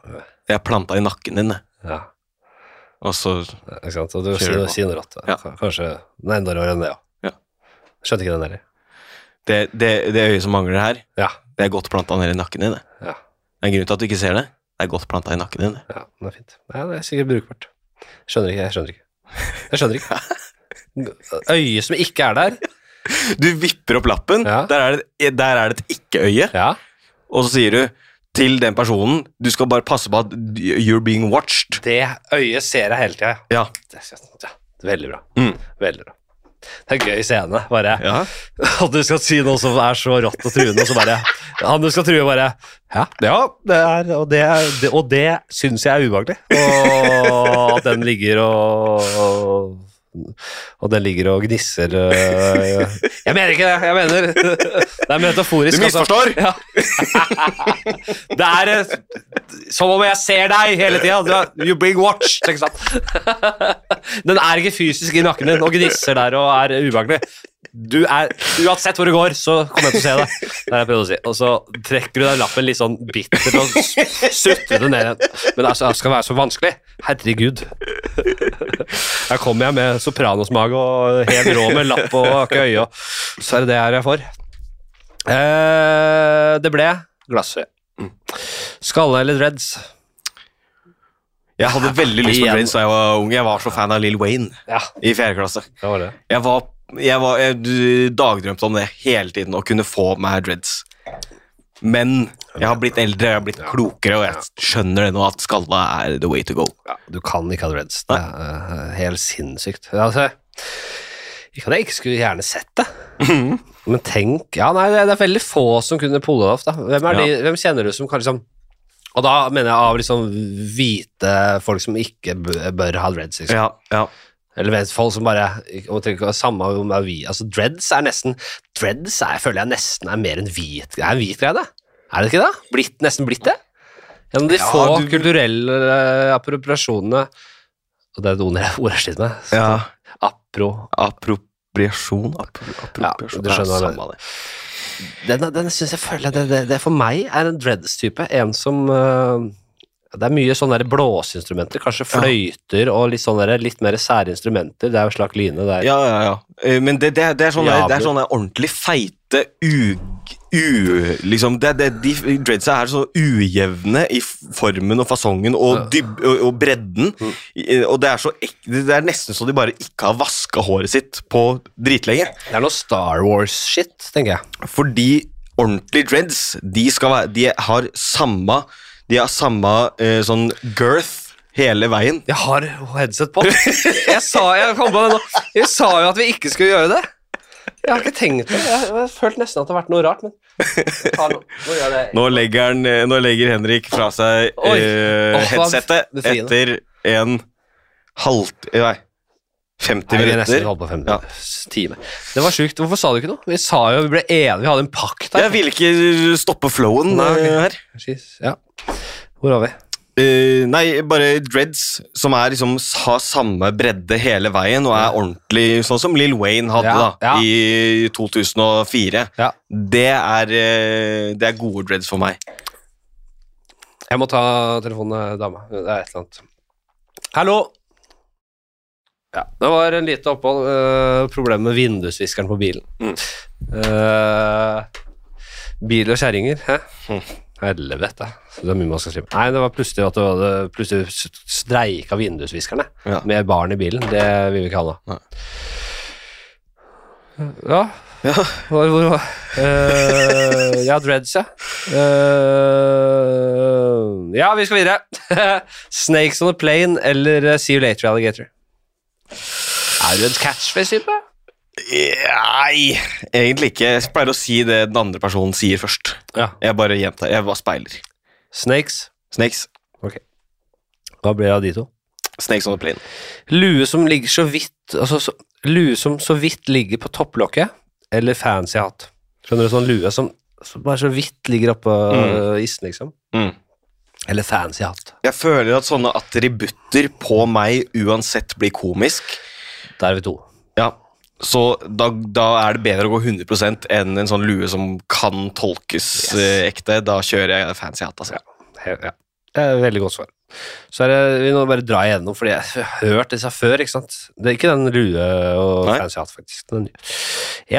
[SPEAKER 2] det er planta i nakken din. det.
[SPEAKER 1] Ja.
[SPEAKER 2] og så
[SPEAKER 1] Ikke sant? Og du
[SPEAKER 2] Kjører på.
[SPEAKER 1] sier rått. da.
[SPEAKER 2] Ja.
[SPEAKER 1] K- Kanskje den enda råere enn det,
[SPEAKER 2] Ja.
[SPEAKER 1] Skjønte ikke den heller.
[SPEAKER 2] det, det, det øyet som mangler her,
[SPEAKER 1] Ja.
[SPEAKER 2] det er godt planta ned i nakken din. det.
[SPEAKER 1] Ja.
[SPEAKER 2] Det er en grunn til at du ikke ser det. Det er godt planta i nakken din. det.
[SPEAKER 1] ja, den er fint. Nei, det er sikkert brukbart. Skjønner ikke, jeg skjønner ikke. Jeg skjønner ikke. Øyet som ikke er der.
[SPEAKER 2] Du vipper opp lappen,
[SPEAKER 1] Ja.
[SPEAKER 2] der, er det, der er det et ikke-øye,
[SPEAKER 1] Ja.
[SPEAKER 2] og så sier du til den personen Du skal bare passe på at you're being watched.
[SPEAKER 1] Det øyet ser jeg hele tida.
[SPEAKER 2] Ja.
[SPEAKER 1] Det er- ja, Veldig bra.
[SPEAKER 2] Mm.
[SPEAKER 1] Veldig bra. Det er en gøy scene. bare
[SPEAKER 2] Ja.
[SPEAKER 1] At du skal si noe som er så rått og truende, og så bare Han du skal true, bare Ja, ja det er, og det, er- det, og det syns jeg er ubehagelig. Og at den ligger og og den ligger og gnisser øh, Jeg mener ikke det! jeg mener Det er metaforisk.
[SPEAKER 2] Du misforstår.
[SPEAKER 1] Altså. Ja. Det er eh, som om jeg ser deg hele tida. You bring watch. Ikke sant? Den er ikke fysisk i nakken din og gnisser der og er ubehagelig. Du er, uansett hvor du går, så kommer jeg til å se det. Det er det jeg prøvde å si. Og så trekker du den lappen litt sånn bittert og s- sutter den ned igjen. Men altså, det skal være så vanskelig. Herregud. Her kommer jeg med sopranosmage og helt rå med lapp og har ikke øye, og så er det det her jeg får. Eh, det ble glassøye. Skalle eller dreads?
[SPEAKER 2] Jeg hadde veldig lyst på
[SPEAKER 1] Igjen.
[SPEAKER 2] Prince da jeg var ung. Jeg var så fan av Lill Wayne
[SPEAKER 1] Ja,
[SPEAKER 2] i fjerde klasse.
[SPEAKER 1] det var det.
[SPEAKER 2] Jeg var, jeg var jeg d- dagdrømte om det hele tiden, å kunne få meg dreads. Men jeg har blitt eldre, jeg har blitt klokere, og jeg skjønner det nå at skalla er the way to go.
[SPEAKER 1] Ja, du kan ikke ha dreads. Det er eh, helt sinnssykt. Altså, ikke at jeg ikke skulle gjerne sett det,
[SPEAKER 2] Mhm.
[SPEAKER 1] men tenk Ja, nei, det er- det er veldig få som kunne pulle det off, da. Hvem, er
[SPEAKER 2] Ja.
[SPEAKER 1] de, hvem kjenner du som kan liksom Og da mener jeg av liksom hvite folk som ikke b- bør ha dreads, liksom.
[SPEAKER 2] Ja, ja.
[SPEAKER 1] Eller vet folk som bare og tenker, ikke- Samme om det er vi Altså, dreads er nesten Dreads er, føler jeg nesten er mer en hvit Det er en hvit greie, det. Er det ikke det? Blitt, nesten blitt det? Gjennom de
[SPEAKER 2] Ja,
[SPEAKER 1] få
[SPEAKER 2] du-
[SPEAKER 1] kulturelle eh, appropriasjonene Og det er et ord jeg- ord jeg sliter med.
[SPEAKER 2] ja.
[SPEAKER 1] Apro.
[SPEAKER 2] Appropriasjon appro,
[SPEAKER 1] Ja,
[SPEAKER 2] Appropriasjon
[SPEAKER 1] du skjønner hva jeg
[SPEAKER 2] samme det.
[SPEAKER 1] Den, den synes jeg føler jeg- det, det, det for meg er en dreads-type. En som eh, Det er mye sånne der blåseinstrumenter. Kanskje fløyter og litt sånne der, litt mer sære instrumenter. Det er jo slakk line. Det er
[SPEAKER 2] Ja, ja, ja. Eh, Men det, det, er- det er sånne,
[SPEAKER 1] Ja,
[SPEAKER 2] det er
[SPEAKER 1] du-
[SPEAKER 2] sånne ordentlig feite u... U, liksom, det, det, de dreadsa er så ujevne i formen og fasongen og, dyb, og, og bredden. I- Og det er, så, ek- det er nesten så de bare ikke har vaska håret sitt på dritlenge.
[SPEAKER 1] Det er noe Star Wars-shit, tenker jeg.
[SPEAKER 2] Fordi ordentlige dreads, de, skal være, de har samme, de har samme eh, sånn girth hele veien.
[SPEAKER 1] Jeg har headset på. Jeg sa, jeg, kom på det nå. jeg sa jo at vi ikke skulle gjøre det. Jeg har ikke tenkt på det. Jeg jeg har følt nesten at det har vært noe rart, men jeg tar nå. Nå gjør jeg det.
[SPEAKER 2] Nå legger, han, eh, nå legger Henrik fra seg
[SPEAKER 1] Oi. Åh,
[SPEAKER 2] eh,
[SPEAKER 1] hva
[SPEAKER 2] headsetet
[SPEAKER 1] befriende.
[SPEAKER 2] etter en halv... eh, Nei, 50
[SPEAKER 1] Nei, vi er nesten
[SPEAKER 2] minutter.
[SPEAKER 1] holdt på fem timer. Det var sjukt. Hvorfor sa du ikke noe? Vi sa jo vi ble enige, vi hadde en pakt
[SPEAKER 2] Jeg
[SPEAKER 1] her.
[SPEAKER 2] vil ikke eh, stoppe flowen
[SPEAKER 1] Nei, ok.
[SPEAKER 2] eh, her.
[SPEAKER 1] Jeez, Ja. Hvor var vi?
[SPEAKER 2] Eh, nei, bare dreads som er liksom har samme bredde hele veien og er ordentlig sånn som Lill Wayne hadde
[SPEAKER 1] Ja,
[SPEAKER 2] da
[SPEAKER 1] ja.
[SPEAKER 2] i 2004.
[SPEAKER 1] Ja.
[SPEAKER 2] Det, er, eh, det er gode dreads for meg.
[SPEAKER 1] Jeg må ta telefonen, eh, dama. Det er et eller annet. Hallo! Ja, det var en lite opphold. eh, problem med vindusviskeren på bilen.
[SPEAKER 2] Mm.
[SPEAKER 1] Eh, bil og kjerringer, hæ?
[SPEAKER 2] Mm.
[SPEAKER 1] Helvete. Så Det er mye man skal skrive. Nei, det var plutselig at det var det, plutselig s- streika vindusviskerne
[SPEAKER 2] Ja.
[SPEAKER 1] med barn i bilen. Det vil vi ikke ha nå. Ja, hvor, hvor, hvor? Eh, ja, dreads, ja. Eh, ja, vi skal videre. Snakes on a plane eller eh, See you later, alligator. Er du en catchface-type?
[SPEAKER 2] Nei, egentlig ikke. Jeg pleier å si det den andre personen sier først.
[SPEAKER 1] Ja.
[SPEAKER 2] Jeg bare gjentar. Jeg bare speiler.
[SPEAKER 1] Snakes.
[SPEAKER 2] Snakes.
[SPEAKER 1] Hva ble det av de to?
[SPEAKER 2] Snakes on the plane.
[SPEAKER 1] Lue som ligger så vidt altså, så, Lue som så vidt ligger på topplokket, eller fancy hatt. Skjønner du, sånn lue som, som bare så vidt ligger oppå
[SPEAKER 2] Mm.
[SPEAKER 1] mm. isen, liksom.
[SPEAKER 2] Mm.
[SPEAKER 1] Eller fancy hatt.
[SPEAKER 2] Jeg føler at sånne attributter på meg uansett blir komisk.
[SPEAKER 1] Der er vi to.
[SPEAKER 2] Ja, så da, da er det bedre å gå 100 enn en sånn lue som kan tolkes
[SPEAKER 1] Yes.
[SPEAKER 2] eh, ekte. Da kjører jeg fancy hatt, altså.
[SPEAKER 1] Ja. Eh, Veldig godt svar. Så er det, vi nå bare drar igjennom, fordi jeg har hørt disse før, ikke sant? Det er ikke den lue og
[SPEAKER 2] Nei.
[SPEAKER 1] fancy hatt, faktisk. Den nye.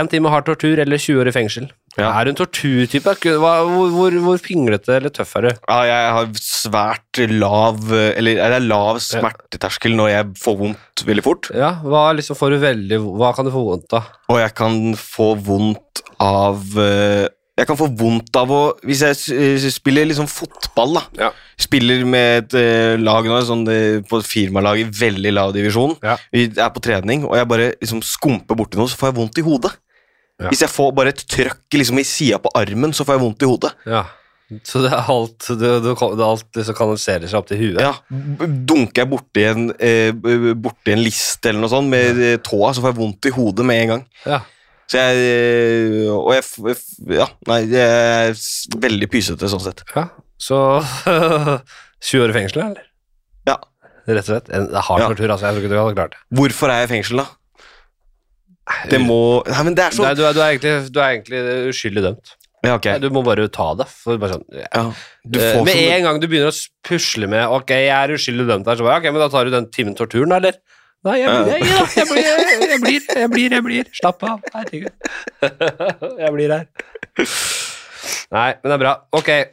[SPEAKER 1] En time hard tortur eller 20 år i fengsel.
[SPEAKER 2] Ja.
[SPEAKER 1] Er du en torturtype? Gud, hva- Hvor, hvor, hvor pinglete eller tøff er du?
[SPEAKER 2] Ja, jeg har svært lav Eller det er lav smerteterskel når jeg får vondt veldig fort.
[SPEAKER 1] Ja, hva, liksom får du veldig, hva kan du få vondt av?
[SPEAKER 2] Og jeg kan få vondt av eh, Jeg kan få vondt av å Hvis jeg s- eh, spiller liksom fotball, da.
[SPEAKER 1] Ja.
[SPEAKER 2] Spiller med et eh, lag nå, sånn, eh, på et firmalag i veldig lav divisjon.
[SPEAKER 1] Ja.
[SPEAKER 2] Vi er på trening, og jeg bare liksom skumper borti noe, så får jeg vondt i hodet.
[SPEAKER 1] Ja.
[SPEAKER 2] Hvis jeg får bare et trøkk liksom, i sida på armen, så får jeg vondt i hodet.
[SPEAKER 1] Ja. Så det er alt, det, det, det er alt liksom kanaliserer seg opp til huet?
[SPEAKER 2] Ja, b- Dunker jeg borti en, eh, b- borti en list eller noe sånt med eh, tåa, så får jeg vondt i hodet med en gang.
[SPEAKER 1] Ja.
[SPEAKER 2] Så jeg eh, Og jeg f- jeg f- Ja, nei, jeg er s- veldig pysete sånn sett.
[SPEAKER 1] ja. Så 20 år i fengsel, eller?
[SPEAKER 2] Ja.
[SPEAKER 1] Rett og slett. En det er hard
[SPEAKER 2] Ja.
[SPEAKER 1] tortur, altså. Jeg tror ikke du hadde klart det.
[SPEAKER 2] Hvorfor er jeg i fengsel, da? Det må Nei, men det er
[SPEAKER 1] Nei,
[SPEAKER 2] sånn
[SPEAKER 1] du, er, du, er egentlig, du er egentlig uskyldig dømt.
[SPEAKER 2] Ja, ok.
[SPEAKER 1] Nei, Du må bare ta det. For bare sånn, ja.
[SPEAKER 2] Ja, du
[SPEAKER 1] Eh,
[SPEAKER 2] får
[SPEAKER 1] med
[SPEAKER 2] som-
[SPEAKER 1] en gang du begynner å s- pusle med Ok, jeg er uskyldig dømt her, så bare, ok, men da tar du den timen torturen, da, eller? Nei, jeg blir, jeg, jeg, jeg, blir, jeg, jeg blir, jeg blir, jeg blir. Slapp av. Herregud. Jeg blir her. Nei, men det er bra. Ok.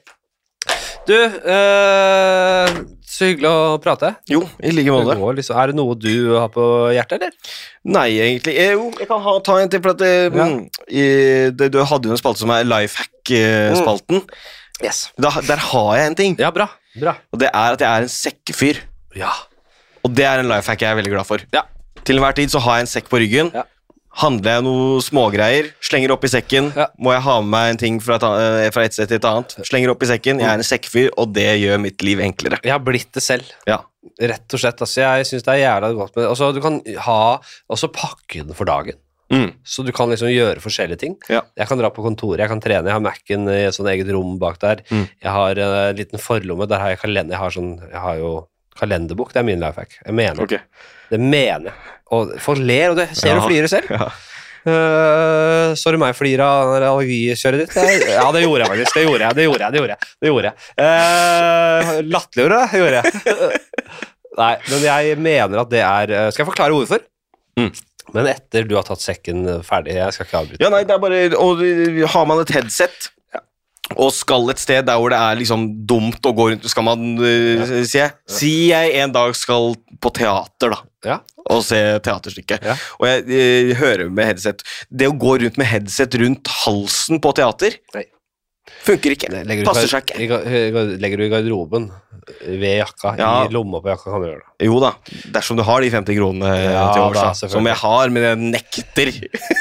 [SPEAKER 1] Du, eh, så hyggelig å prate.
[SPEAKER 2] Jo, i like
[SPEAKER 1] Det
[SPEAKER 2] måte.
[SPEAKER 1] går liksom, er det noe du har på hjertet, eller?
[SPEAKER 2] Nei, egentlig. Eh, Jo, jeg kan ha, ta en til, for at
[SPEAKER 1] Ja.
[SPEAKER 2] eh, mm, i, det, Du hadde jo en spalte som er Lifehack-spalten.
[SPEAKER 1] Mm. Yes.
[SPEAKER 2] Da, der har jeg en ting,
[SPEAKER 1] Ja, bra. Bra.
[SPEAKER 2] og det er at jeg er en sekkefyr.
[SPEAKER 1] Ja.
[SPEAKER 2] Og det er en lifehack jeg er veldig glad for.
[SPEAKER 1] Ja.
[SPEAKER 2] Til enhver tid så har jeg en sekk på ryggen.
[SPEAKER 1] Ja.
[SPEAKER 2] Handler jeg noe smågreier, slenger opp i sekken.
[SPEAKER 1] Ja.
[SPEAKER 2] Må jeg ha med meg en ting fra et, an- eh, fra et sted til et annet, slenger opp i sekken. Jeg er en sekkfyr, og det gjør mitt liv enklere.
[SPEAKER 1] Jeg har blitt det selv.
[SPEAKER 2] Ja.
[SPEAKER 1] Rett og slett. Altså, jeg syns det er jævla godt med altså, Du kan ha også pakke den for dagen.
[SPEAKER 2] Mm.
[SPEAKER 1] Så du kan liksom gjøre forskjellige ting.
[SPEAKER 2] Ja.
[SPEAKER 1] Jeg kan dra på kontoret, jeg kan trene, jeg har Mac-en i et sånt eget rom bak der.
[SPEAKER 2] Mm.
[SPEAKER 1] Jeg har eh, en liten forlomme, der har jeg kalender. Jeg har, sånn, jeg har jo kalenderbok, det er min life hack. Jeg mener
[SPEAKER 2] Ok.
[SPEAKER 1] det. mener jeg. Og folk ler, og det ser
[SPEAKER 2] Ja.
[SPEAKER 1] du flirer selv.
[SPEAKER 2] Ja.
[SPEAKER 1] Uh, sorry meg flir av det allergikjøret ditt. Jeg, ja, det gjorde jeg faktisk. Det gjorde jeg. det gjorde jeg, det gjorde jeg, det gjorde jeg. Uh, Latterliggjorde det, gjorde jeg. Nei, men jeg mener at det er uh, Skal jeg forklare hvorfor?
[SPEAKER 2] Mm.
[SPEAKER 1] Men etter du har tatt sekken ferdig. Jeg skal ikke avbryte.
[SPEAKER 2] Ja, nei, det er bare Og eh, har man et headset og skal et sted der hvor det er liksom dumt å gå rundt Skal man eh, si jeg, Si jeg en dag skal på teater, da.
[SPEAKER 1] Ja.
[SPEAKER 2] Og se teaterstykket.
[SPEAKER 1] Ja.
[SPEAKER 2] Og jeg, eh, hører med headset Det å gå rundt med headset rundt halsen på teater
[SPEAKER 1] Nei.
[SPEAKER 2] funker ikke.
[SPEAKER 1] Legger du,
[SPEAKER 2] Passer seg
[SPEAKER 1] i
[SPEAKER 2] ikke.
[SPEAKER 1] gar- i gar- legger du i garderoben, ved jakka,
[SPEAKER 2] Ja.
[SPEAKER 1] i lomma på jakka, kan du gjøre det.
[SPEAKER 2] Jo da, dersom du har de 50 kronene eh,
[SPEAKER 1] Ja
[SPEAKER 2] til overs,
[SPEAKER 1] da,
[SPEAKER 2] da,
[SPEAKER 1] selvfølgelig.
[SPEAKER 2] som jeg har, men jeg nekter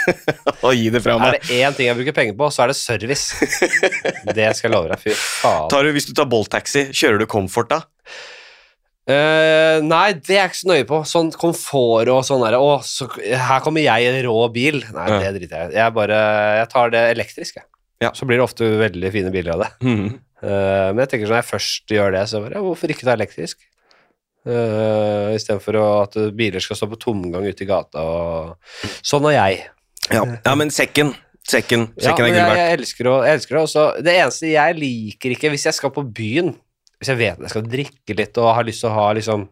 [SPEAKER 2] å gi det fra
[SPEAKER 1] Er
[SPEAKER 2] meg.
[SPEAKER 1] det én ting jeg bruker penger på, så er det service. det skal jeg love deg. Fy faen.
[SPEAKER 2] Tar du, hvis du tar Bolt-taxi, kjører du Comfort da?
[SPEAKER 1] Eh, nei, det er jeg ikke så nøye på. Sånn komfort og sånn der Å, så, her kommer jeg i en rå bil. Nei,
[SPEAKER 2] Ja.
[SPEAKER 1] det driter jeg i. Jeg bare Jeg tar det elektrisk, jeg.
[SPEAKER 2] Ja.
[SPEAKER 1] Så blir det ofte veldig fine biler av det. Eh, men jeg tenker sånn, når jeg først gjør det, så bare ja, Hvorfor ikke ta elektrisk? Uh, Istedenfor at eh, biler skal stå på tomgang ute i gata og Sånn er jeg.
[SPEAKER 2] Ja. ja, men sekken. Sekken,
[SPEAKER 1] Ja,
[SPEAKER 2] sekken
[SPEAKER 1] men
[SPEAKER 2] er gull
[SPEAKER 1] jeg,
[SPEAKER 2] verdt.
[SPEAKER 1] jeg elsker å- jeg elsker det også. Det eneste jeg liker ikke hvis jeg skal på byen, hvis jeg vet jeg skal drikke litt og har lyst til å ha liksom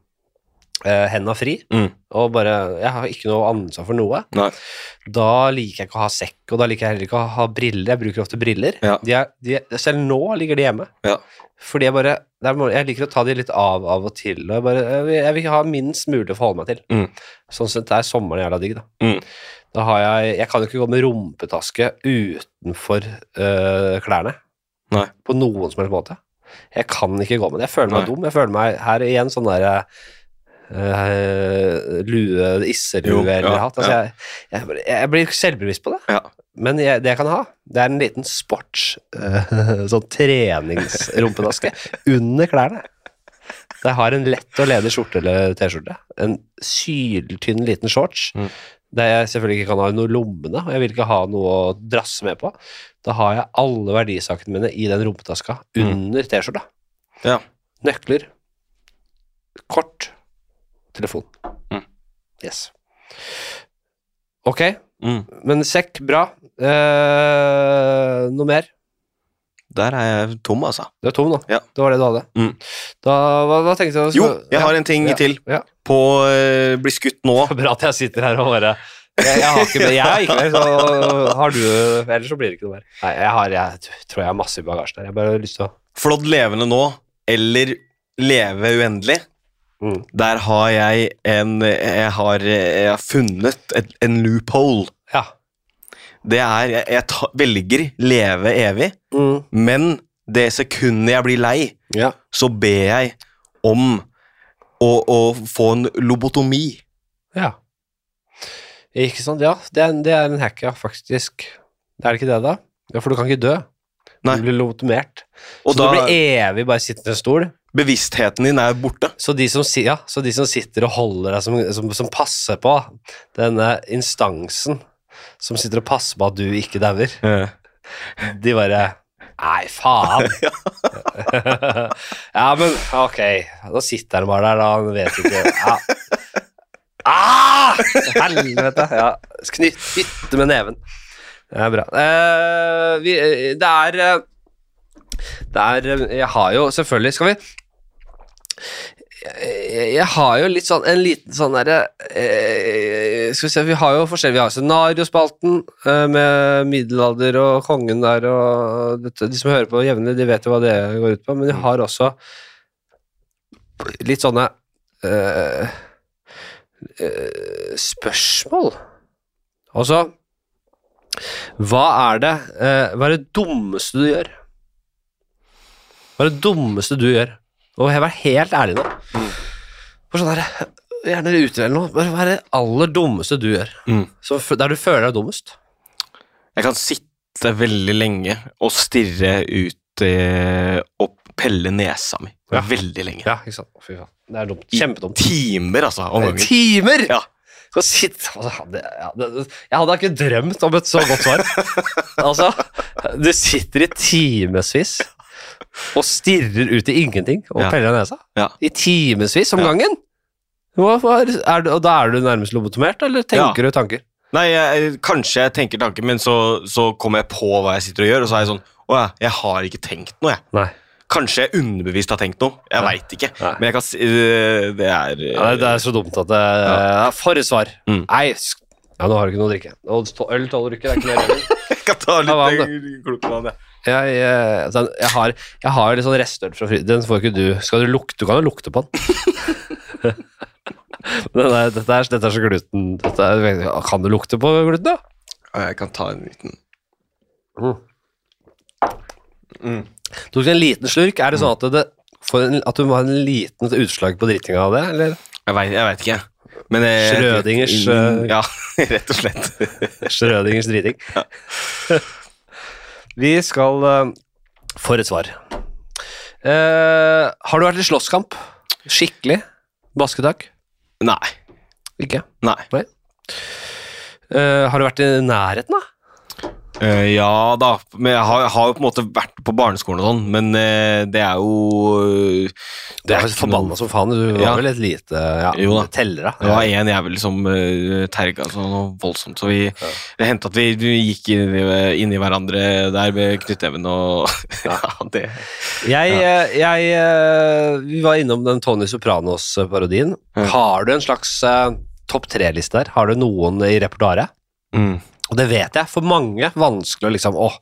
[SPEAKER 1] eh, henda fri,
[SPEAKER 2] Mm.
[SPEAKER 1] og bare Jeg har ikke noe ansvar for noe.
[SPEAKER 2] Nei.
[SPEAKER 1] Da liker jeg ikke å ha sekk, og da liker jeg heller ikke å ha briller. Jeg bruker ofte briller.
[SPEAKER 2] Ja.
[SPEAKER 1] De er, de er, selv nå ligger de hjemme.
[SPEAKER 2] Ja.
[SPEAKER 1] Fordi jeg bare det er, må- Jeg liker å ta de litt av av og til. Og jeg, bare, jeg, vil, jeg vil ikke ha minst mulig å forholde meg til.
[SPEAKER 2] Mm.
[SPEAKER 1] Sånn sett er sommeren jævla digg, da.
[SPEAKER 2] Mm.
[SPEAKER 1] Da har jeg Jeg kan jo ikke gå med rumpetaske utenfor øh, klærne.
[SPEAKER 2] Nei.
[SPEAKER 1] På noen som helst måte. Jeg kan ikke gå med det. Jeg føler meg
[SPEAKER 2] Nei.
[SPEAKER 1] dum. Jeg føler meg her igjen sånn derre øh, lue,
[SPEAKER 2] Jo,
[SPEAKER 1] isselue eller
[SPEAKER 2] ja,
[SPEAKER 1] hatt. Altså,
[SPEAKER 2] ja.
[SPEAKER 1] jeg, jeg, jeg blir selvbevisst på det.
[SPEAKER 2] Ja.
[SPEAKER 1] Men jeg, det jeg kan ha, det er en liten sports eh, Sånn treningsrumpedaske under klærne. Så jeg har en lett og ledig skjorte eller T-skjorte. En syltynn liten shorts.
[SPEAKER 2] Mm.
[SPEAKER 1] Der jeg selvfølgelig ikke kan ha noe i lommene, og jeg vil ikke ha noe å drasse med på. Da har jeg alle verdisakene mine i den rumpetaska
[SPEAKER 2] Mm.
[SPEAKER 1] under T-skjorta.
[SPEAKER 2] Ja.
[SPEAKER 1] Nøkler, kort, telefon.
[SPEAKER 2] Mm.
[SPEAKER 1] Yes. Ok.
[SPEAKER 2] Mm.
[SPEAKER 1] Men sekk, bra. Eh, noe mer?
[SPEAKER 2] Der er jeg tom, altså.
[SPEAKER 1] Du er tom nå.
[SPEAKER 2] Ja.
[SPEAKER 1] Det var det du hadde.
[SPEAKER 2] Mm.
[SPEAKER 1] Da, hva, hva tenkte jeg?
[SPEAKER 2] Jo, jeg har en ting
[SPEAKER 1] Ja.
[SPEAKER 2] til.
[SPEAKER 1] Ja.
[SPEAKER 2] På eh, bli skutt nå.
[SPEAKER 1] Bra at jeg sitter her og bare jeg, jeg har ikke mer, jeg har ikke mer, så har du Ellers så blir det ikke noe mer. Nei, jeg, har, jeg tror jeg har masse i bagasjen her. Jeg bare har lyst til å
[SPEAKER 2] Flådd levende nå, eller leve uendelig.
[SPEAKER 1] Mm.
[SPEAKER 2] Der har jeg en Jeg har, jeg har funnet et, en loophole.
[SPEAKER 1] Ja.
[SPEAKER 2] Det er Jeg, jeg ta, velger leve evig, Mm, men det sekundet jeg blir lei,
[SPEAKER 1] ja.
[SPEAKER 2] så ber jeg om å, å få en lobotomi.
[SPEAKER 1] Ja. Ikke sant? Ja, det er, en- det er en hack, ja, faktisk. Er det ikke det, da? Ja, For du kan ikke dø.
[SPEAKER 2] Nei.
[SPEAKER 1] Du blir lobotomert.
[SPEAKER 2] Og
[SPEAKER 1] så
[SPEAKER 2] da
[SPEAKER 1] du blir evig bare sittende i en stol.
[SPEAKER 2] Bevisstheten din er borte.
[SPEAKER 1] Så de som, si- ja, så de som sitter og holder deg, som, som, som passer på denne instansen som sitter og passer på at du ikke dauer, de bare Nei, faen! ja, men ok. Da sitter han bare der, da. Han vet ikke ja. ah! Helvete! Ja. Knyt- Knytte med neven. Det er bra. Eh, vi, eh, det er eh, Det er eh, Jeg har jo selvfølgelig Skal vi jeg, jeg har jo litt sånn en liten sånn derre eh, Skal vi se, vi har jo forskjellig Vi har scenariospalten eh, med middelalder og kongen der og dette. De som hører på jevnlig, de vet jo hva det går ut på, men vi har også litt sånne eh, eh, spørsmål. Altså Hva er det eh, Hva er det dummeste du gjør? Hva er det dummeste du gjør? Og jeg var helt ærlig nå. For sånn her, gjerne ute eller noe, bare hva er det aller dummeste du gjør?
[SPEAKER 2] Mm.
[SPEAKER 1] Så f- der du føler deg dummest?
[SPEAKER 2] Jeg kan sitte veldig lenge og stirre ut eh, og pelle nesa mi.
[SPEAKER 1] Ja.
[SPEAKER 2] Veldig lenge.
[SPEAKER 1] Ja, ikke sant? Fy faen, det er dumt.
[SPEAKER 2] I
[SPEAKER 1] Kjempedumt.
[SPEAKER 2] Timer, altså, om gangen.
[SPEAKER 1] Timer!
[SPEAKER 2] Ja.
[SPEAKER 1] Skal sitte altså, hadde, ja, det, det- Jeg hadde ikke drømt om et så godt svar. altså, du sitter i timevis og stirrer ut i ingenting og
[SPEAKER 2] Ja.
[SPEAKER 1] peller deg i nesa.
[SPEAKER 2] Ja.
[SPEAKER 1] I timevis om
[SPEAKER 2] Ja.
[SPEAKER 1] gangen. Hva, hva er, er du, og da er du nærmest lobotomert, eller tenker du tanker?
[SPEAKER 2] Nei, jeg, kanskje jeg tenker tanken, men så, så kommer jeg på hva jeg sitter og gjør, og så er jeg sånn Å ja, jeg har ikke tenkt noe, jeg.
[SPEAKER 1] Nei.
[SPEAKER 2] Kanskje jeg underbevisst har tenkt noe. Jeg veit ikke.
[SPEAKER 1] Nei.
[SPEAKER 2] Men jeg kan si øh, Det er øh,
[SPEAKER 1] Ja, det, det er så dumt at det ja. For et svar.
[SPEAKER 2] Mm.
[SPEAKER 1] Nei, sk- ja, nå har du ikke noe å drikke. Og stå- Øl tåler du ikke, det er ikke noe øl.
[SPEAKER 2] Jeg kan ta
[SPEAKER 1] Ja, hva om
[SPEAKER 2] litt øh, klokkevann, jeg.
[SPEAKER 1] Jeg, eh, den- jeg har, jeg har litt sånn restøl fra fri... Den får ikke du Skal du lukte? Du kan jo lukte på den. den er, dette, er, dette er så gluten... Dette er, kan du lukte på gluten, da?
[SPEAKER 2] Ja, Jeg kan ta en liten
[SPEAKER 1] Mm. Du tok en liten slurk. Er det sånn at, det, får en, at du må ha en liten utslag på drittinga av det? Eller?
[SPEAKER 2] Jeg veit, jeg vet ikke. Men øh, jeg- Mm,
[SPEAKER 1] Schrødingers, øh,
[SPEAKER 2] Ja, rett og slett.
[SPEAKER 1] Schrødingers driting. Vi skal eh, For et svar. Eh, har du vært i slåsskamp? Skikkelig? Basketak?
[SPEAKER 2] Nei.
[SPEAKER 1] Ikke?
[SPEAKER 2] Nei.
[SPEAKER 1] Eh, har du vært i nærheten, da?
[SPEAKER 2] Eh, ja da, men jeg har, jeg har jo på en måte vært på barneskolen og sånn, men eh, det er jo eh,
[SPEAKER 1] Du er
[SPEAKER 2] ikke
[SPEAKER 1] jo forbanna
[SPEAKER 2] noe-
[SPEAKER 1] som faen. Du var
[SPEAKER 2] Ja.
[SPEAKER 1] vel et lite ja,
[SPEAKER 2] Jo da.
[SPEAKER 1] teller, da.
[SPEAKER 2] Det var en jævel som uh, terga så noe voldsomt, så vi, det hendte at vi, vi gikk inn i, inn i hverandre der med knyttneven og ja, det.
[SPEAKER 1] Jeg, eh, jeg eh, Vi var innom den Tony Sopranos-parodien.
[SPEAKER 2] Ja.
[SPEAKER 1] Har du en slags eh, topp tre-liste der? Har du noen i repertoaret?
[SPEAKER 2] Mm.
[SPEAKER 1] Og det vet jeg, for mange vanskelig å liksom Åh,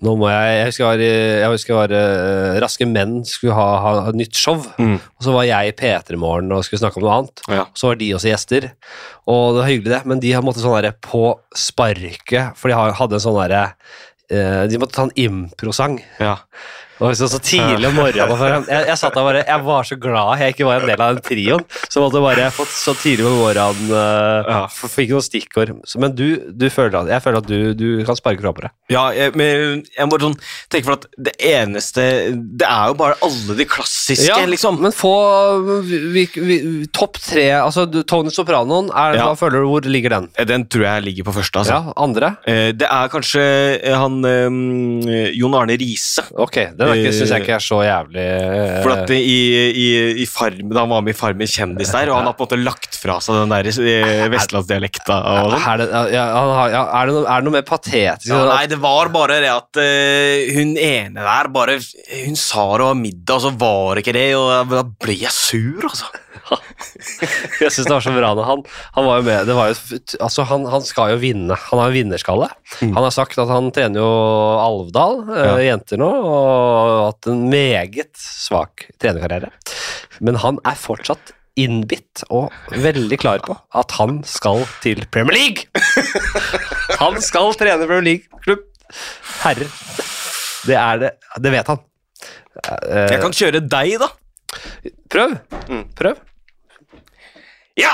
[SPEAKER 1] nå må jeg Jeg husker jeg var, i- jeg husker jeg var eh, Raske menn skulle ha, ha, ha nytt show,
[SPEAKER 2] Mm.
[SPEAKER 1] og så var jeg i P3 Morgen og skulle snakke om noe annet.
[SPEAKER 2] Ja.
[SPEAKER 1] Og så var de også gjester, og det var hyggelig, det, men de har måttet sånn derre på sparket, for de har- hadde en sånn derre eh, De måtte ta en improsang.
[SPEAKER 2] ja.
[SPEAKER 1] Og liksom så, så tidlig om morgenen for jeg, jeg satt der bare Jeg var så glad jeg ikke var en del av den trioen. Så måtte jeg bare fått så tidlig på morgenen eh,
[SPEAKER 2] Ja.
[SPEAKER 1] f- Fikk noen stikkord. Så, men du, du føler at, jeg føler at du, du kan sparke fra på det.
[SPEAKER 2] Ja, jeg, men jeg må bare sånn tenke for at det eneste Det er jo bare alle de klassiske, liksom.
[SPEAKER 1] Men få vi, vi, topp tre altså, du, Tony Sopranoen, er,
[SPEAKER 2] Ja.
[SPEAKER 1] hva føler du, hvor ligger den?
[SPEAKER 2] Eh, Den tror jeg ligger på første, altså.
[SPEAKER 1] Ja, andre?
[SPEAKER 2] Eh, Det er kanskje eh, han eh, Jon Arne Riise.
[SPEAKER 1] Ok, den det er ikke- synes jeg ikke er så jævlig eh,
[SPEAKER 2] For at i, i, i farm, da han var med i Farmen kjendis der, og han har på en måte lagt fra seg den der eh, vestlandsdialekta og sånn.
[SPEAKER 1] er det, ja, han har- ja, er, det noe, er det noe mer patetisk?
[SPEAKER 2] Ja, nei, det var bare det at eh, hun ene der bare Hun sa det var middag, og så var det ikke det, og da ble jeg sur, altså.
[SPEAKER 1] Jeg synes det var så bra da. han, han var jo med det var jo, altså han, han skal jo vinne. Han har en vinnerskalle.
[SPEAKER 2] Mm.
[SPEAKER 1] Han har sagt at han trener jo Alvdal, eh, jenter nå, og hatt en meget svak trenerkarriere. Men han er fortsatt innbitt og veldig klar på at han skal til Premier League! Han skal trene Premier League-klubb. Herre. Det er det. Det vet han. Eh,
[SPEAKER 2] Jeg kan Mm. kjøre deg, da.
[SPEAKER 1] Prøv. Prøv.
[SPEAKER 2] Ja!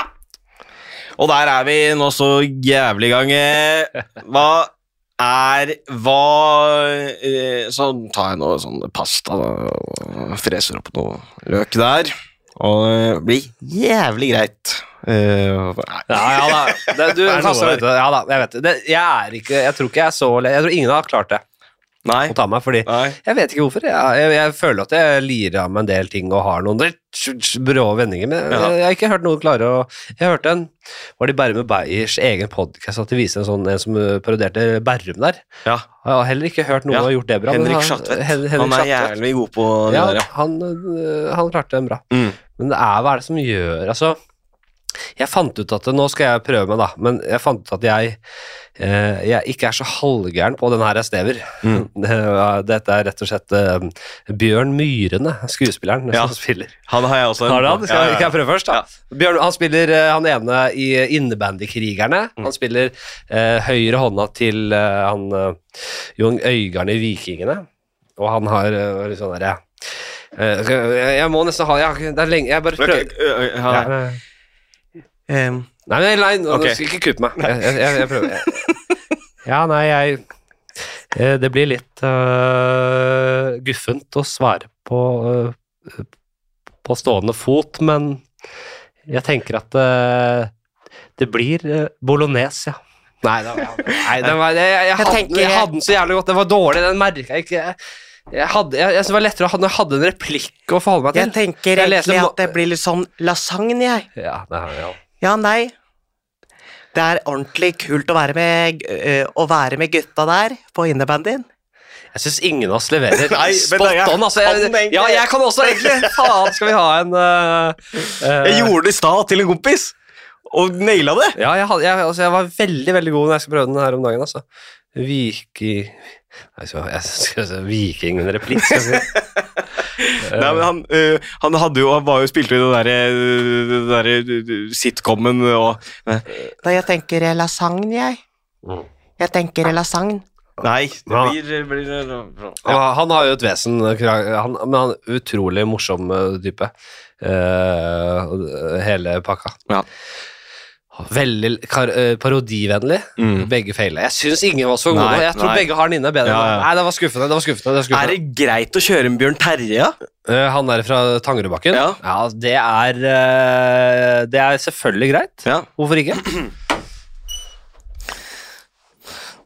[SPEAKER 2] Og der er vi nå så jævlig i gang. eh. Hva er Hva eh, Så tar jeg noe sånn pasta da, og freser opp noe løk der. Og det blir jævlig greit. Eh, nei.
[SPEAKER 1] Ja, ja da. Det, du,
[SPEAKER 2] er noe
[SPEAKER 1] kaster meg
[SPEAKER 2] der.
[SPEAKER 1] ut av det. ja, da, jeg vet det. det. Jeg er ikke Jeg tror ikke jeg er så le- Jeg tror ingen har klart det
[SPEAKER 2] Nei.
[SPEAKER 1] å ta meg, fordi
[SPEAKER 2] Nei.
[SPEAKER 1] jeg vet ikke hvorfor. Jeg, jeg, jeg føler at jeg lirer av meg en del ting og har noen litt tj- tj- brå vendinger, men
[SPEAKER 2] Ja.
[SPEAKER 1] jeg, jeg har ikke hørt noen klare å Jeg hørte en Var det Berrum og Beyers egen podkast at de viste en sånn en som eh, parodierte Berrum der?
[SPEAKER 2] Ja.
[SPEAKER 1] Jeg har heller ikke hørt noen
[SPEAKER 2] Ja.
[SPEAKER 1] ha gjort det bra. men
[SPEAKER 2] Henrik
[SPEAKER 1] han-
[SPEAKER 2] Schatvedt.
[SPEAKER 1] Hen- Henrik
[SPEAKER 2] Han er
[SPEAKER 1] Schatvedt.
[SPEAKER 2] jævlig god på det
[SPEAKER 1] Ja,
[SPEAKER 2] der, ja.
[SPEAKER 1] han, øh, han klarte den bra.
[SPEAKER 2] Mm.
[SPEAKER 1] Men det er hva er det som gjør Altså, jeg fant ut at Nå skal jeg prøve meg, da, men jeg fant ut at jeg, eh, jeg ikke er så halvgæren på den her jeg snever.
[SPEAKER 2] Mm.
[SPEAKER 1] Dette er rett og slett eh, Bjørn Myrene, skuespilleren,
[SPEAKER 2] Ja.
[SPEAKER 1] som spiller.
[SPEAKER 2] Han har jeg også. en-
[SPEAKER 1] Har du han? Skal,
[SPEAKER 2] Ja, ja, ja.
[SPEAKER 1] Kan jeg prøve først, da? Bjørn, han spiller eh, han ene i innebandykrigerne.
[SPEAKER 2] Mm.
[SPEAKER 1] Han spiller eh, høyre hånda til eh, han eh, Jon Øygarden i Vikingene. Og han har eh, litt sånn derre eh, jeg- Jeg må nesten ha jeg, har ikke- Det er lenge Jeg bare
[SPEAKER 2] Ok,
[SPEAKER 1] prøver.
[SPEAKER 2] ø- ø- ha det.
[SPEAKER 1] Ja.
[SPEAKER 2] Em,
[SPEAKER 1] Nei, nei, nei, nå
[SPEAKER 2] Ok.
[SPEAKER 1] nå skal jeg ikke kutte meg. Jeg, jeg, jeg, jeg prøver. Ja, nei, jeg eh, Det blir litt øh, guffent å svare på øh, på stående fot, men jeg tenker at øh, det blir øh, bolognese, ja. Nei, det var, nei den var, jeg, jeg, jeg, hadde,
[SPEAKER 3] tenker-
[SPEAKER 1] jeg hadde den så jævlig godt. Den var dårlig, den merka jeg ikke. Jeg, jeg hadde, jeg, jeg synes det var lettere å ha når jeg hadde en replikk å forholde meg til.
[SPEAKER 2] tenker
[SPEAKER 1] Jeg leser mo-
[SPEAKER 2] blir litt sånn lasagne, jeg.
[SPEAKER 1] Ja, det er, ja.
[SPEAKER 2] Ja, nei. Det er ordentlig kult å være med, ø, å være med gutta der på innebandyen.
[SPEAKER 1] Jeg syns ingen av oss leverer
[SPEAKER 2] Nei, men
[SPEAKER 1] spot
[SPEAKER 2] da, jeg
[SPEAKER 1] on. Altså,
[SPEAKER 2] kan
[SPEAKER 1] jeg,
[SPEAKER 2] egentlig-
[SPEAKER 1] ja, jeg kan også egentlig. Faen, skal vi ha en eh, eh,
[SPEAKER 2] Jeg gjorde det i stad til en kompis, og naila det.
[SPEAKER 1] Ja, jeg, hadde- jeg, altså, jeg var veldig, veldig god når jeg skulle prøve den her om dagen, altså. Viki... Nei, så, jeg skal si Viking, en replikk, skal jeg si.
[SPEAKER 2] Nei, men han, ø, han hadde jo, han var jo spilte jo i den derre den derre, ø, sitcomen og
[SPEAKER 4] Da jeg tenker lasagne, jeg.
[SPEAKER 1] Mm.
[SPEAKER 4] Jeg tenker lasagne.
[SPEAKER 2] Nei. Det
[SPEAKER 1] Ja.
[SPEAKER 2] blir, blir
[SPEAKER 1] Han, han har jo et vesen, eh, han, men han er utrolig morsom eh, type. Eh, hele pakka.
[SPEAKER 2] Ja.
[SPEAKER 1] Veldig kar eh, parodivennlig.
[SPEAKER 2] Mm.
[SPEAKER 1] Begge feila. Jeg syns ingen var så gode.
[SPEAKER 2] Nei,
[SPEAKER 1] jeg tror
[SPEAKER 2] nei.
[SPEAKER 1] begge har den inne bedre.
[SPEAKER 2] Ja, ja.
[SPEAKER 1] Nei, det var skuffende. det var skuffende, det var
[SPEAKER 2] Er
[SPEAKER 1] skuffende.
[SPEAKER 2] det greit å kjøre en Bjørn Terje? ja?
[SPEAKER 1] Eh, han der fra Tangerudbakken?
[SPEAKER 2] Ja.
[SPEAKER 1] det er eh, Det er selvfølgelig greit.
[SPEAKER 2] Ja.
[SPEAKER 1] Hvorfor ikke?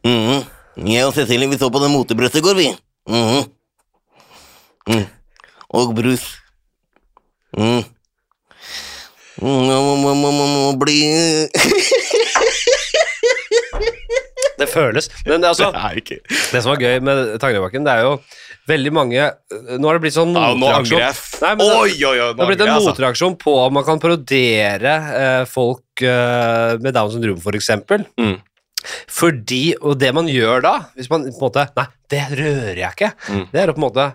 [SPEAKER 3] Mhm. Jeg og Cecilie vi så på den motebrøstet i går, vi. Mhm. Mm. Og brus. Mm. Mm, jeg må, må, må, må, må bli
[SPEAKER 1] Det føles. Men altså,
[SPEAKER 2] Nei, ikke.
[SPEAKER 1] det som var gøy med Tangerudbakken, det er jo veldig mange Nå har det blitt sånn
[SPEAKER 2] Ja, nå
[SPEAKER 1] motreaksjon.
[SPEAKER 2] angrer jeg.
[SPEAKER 1] Nei, men det-
[SPEAKER 2] Oi, oi, oi,
[SPEAKER 1] Det
[SPEAKER 2] nå
[SPEAKER 1] har blitt
[SPEAKER 2] angrer jeg,
[SPEAKER 1] en
[SPEAKER 2] altså.
[SPEAKER 1] motreaksjon på om man kan parodiere eh, folk eh, med Downs syndrom, for eksempel.
[SPEAKER 2] Mm.
[SPEAKER 1] Fordi, og det man gjør da, hvis man på en måte Nei, det rører jeg ikke.
[SPEAKER 2] Mm.
[SPEAKER 1] Det er å på en måte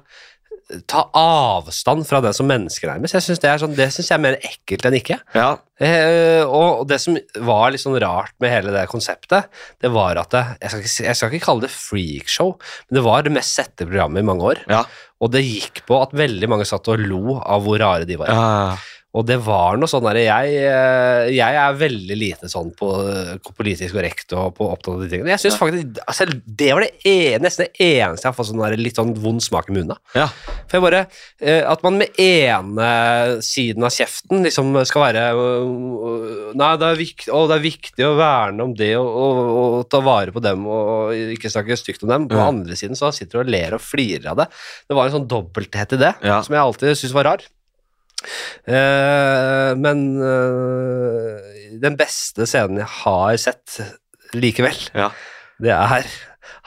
[SPEAKER 1] ta avstand fra det som mennesker nærmest. Jeg synes det, er sånn, det syns jeg er mer ekkelt enn ikke.
[SPEAKER 2] Ja.
[SPEAKER 1] Eh, og det som var litt sånn rart med hele det konseptet, det var at det, jeg, skal ikke, si- jeg skal ikke kalle det freakshow, men det var det mest sette programmet i mange år.
[SPEAKER 2] Ja.
[SPEAKER 1] Og det gikk på at veldig mange satt og lo av hvor rare de var.
[SPEAKER 2] Ja.
[SPEAKER 1] Og det var noe sånn der, jeg, eh, jeg er veldig lite sånn på eh, politisk korrekt og på opptatt av de tingene. Jeg synes e, faktisk, altså, Det var det ene, nesten det eneste jeg har fått sånn der, litt sånn vond smak i munnen av.
[SPEAKER 2] Ja.
[SPEAKER 1] For For jeg bare eh, At man med ene siden av kjeften liksom skal være øh, øh, Nei, det er, viktig, å, det er viktig å verne om det og, og, og ta vare på dem og, og ikke snakke stygt om dem. På
[SPEAKER 2] Ja.
[SPEAKER 1] andre siden så sitter du og ler og flirer av det. Det var en sånn dobbelthet i det
[SPEAKER 2] Ja.
[SPEAKER 1] som jeg alltid syntes var rar. Eh, men eh, den beste scenen jeg har sett likevel,
[SPEAKER 2] Ja.
[SPEAKER 1] det er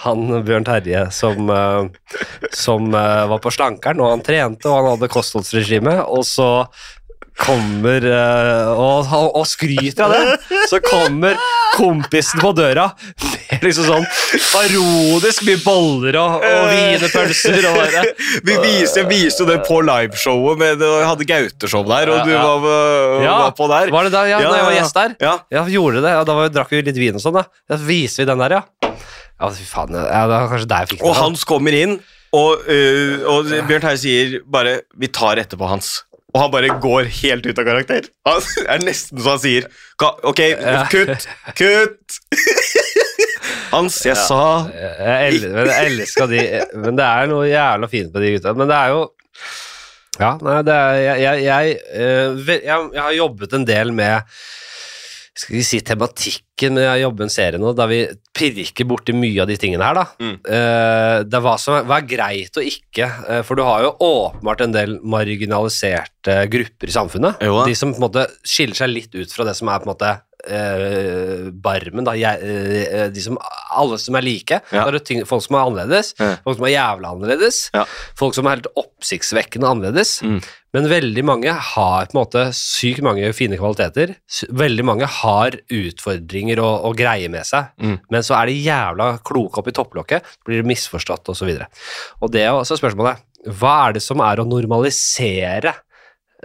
[SPEAKER 1] han Bjørn Terje som, eh, som eh, var på slankeren, og han trente, og han hadde kostholdsregime, og så kommer eh, og, og skryter av det, så kommer kompisen på døra med liksom sånn parodisk mye boller og, og wienerpølser og bare
[SPEAKER 2] Vi viste, jeg viste jo det på liveshowet, med, og jeg hadde Gaute-show der, og du
[SPEAKER 1] Ja, ja.
[SPEAKER 2] var, øh, var på der.
[SPEAKER 1] Var det der? Ja, da jeg
[SPEAKER 2] Ja,
[SPEAKER 1] var
[SPEAKER 2] ja, ja.
[SPEAKER 1] gjest der.
[SPEAKER 2] Ja.
[SPEAKER 1] Ja, vi gjorde det. Ja, da var, drakk vi litt vin og sånn, da. Da viser vi den der, ja. Ja, fy faen. Ja, det var kanskje der jeg fikk det.
[SPEAKER 2] Og
[SPEAKER 1] fra.
[SPEAKER 2] Hans kommer inn, og, øh, og Bjørn Terje sier bare 'Vi tar etterpå Hans'. Og han bare går helt ut av karakter. Han det er nesten så han sier «Ka- 'Ok, kutt, kutt'. Hans, jeg sa
[SPEAKER 1] Jeg, el men jeg elsker de Men det er noe jævla fint med de gutta. Men det er jo Ja, nei, det er Jeg, jeg, jeg, eh, ve- jeg, jeg har jobbet en del med skal vi si tematikken, men jeg jobber en serie nå der vi pirker borti mye av de tingene her, da.
[SPEAKER 2] Mm.
[SPEAKER 1] Eh, det er hva som er, hva er greit og ikke, eh, for du har jo åpenbart en del marginaliserte grupper i samfunnet.
[SPEAKER 2] Jo da.
[SPEAKER 1] De som på en måte skiller seg litt ut fra det som er på en måte eh, barmen, da. Jeg, eh, de som, alle som er like.
[SPEAKER 2] Ja.
[SPEAKER 1] Da er det ting, folk som er annerledes,
[SPEAKER 2] Ja.
[SPEAKER 1] folk som er jævla annerledes,
[SPEAKER 2] Ja.
[SPEAKER 1] folk som er helt oppsiktsvekkende annerledes.
[SPEAKER 2] Mm.
[SPEAKER 1] Men veldig mange har på en måte sykt mange fine kvaliteter. S- Veldig mange har utfordringer og, og greier med seg.
[SPEAKER 2] Mm.
[SPEAKER 1] Men så er de jævla kloke oppi topplokket, blir de misforstått osv. Og det er jo også spørsmålet hva er det som er å normalisere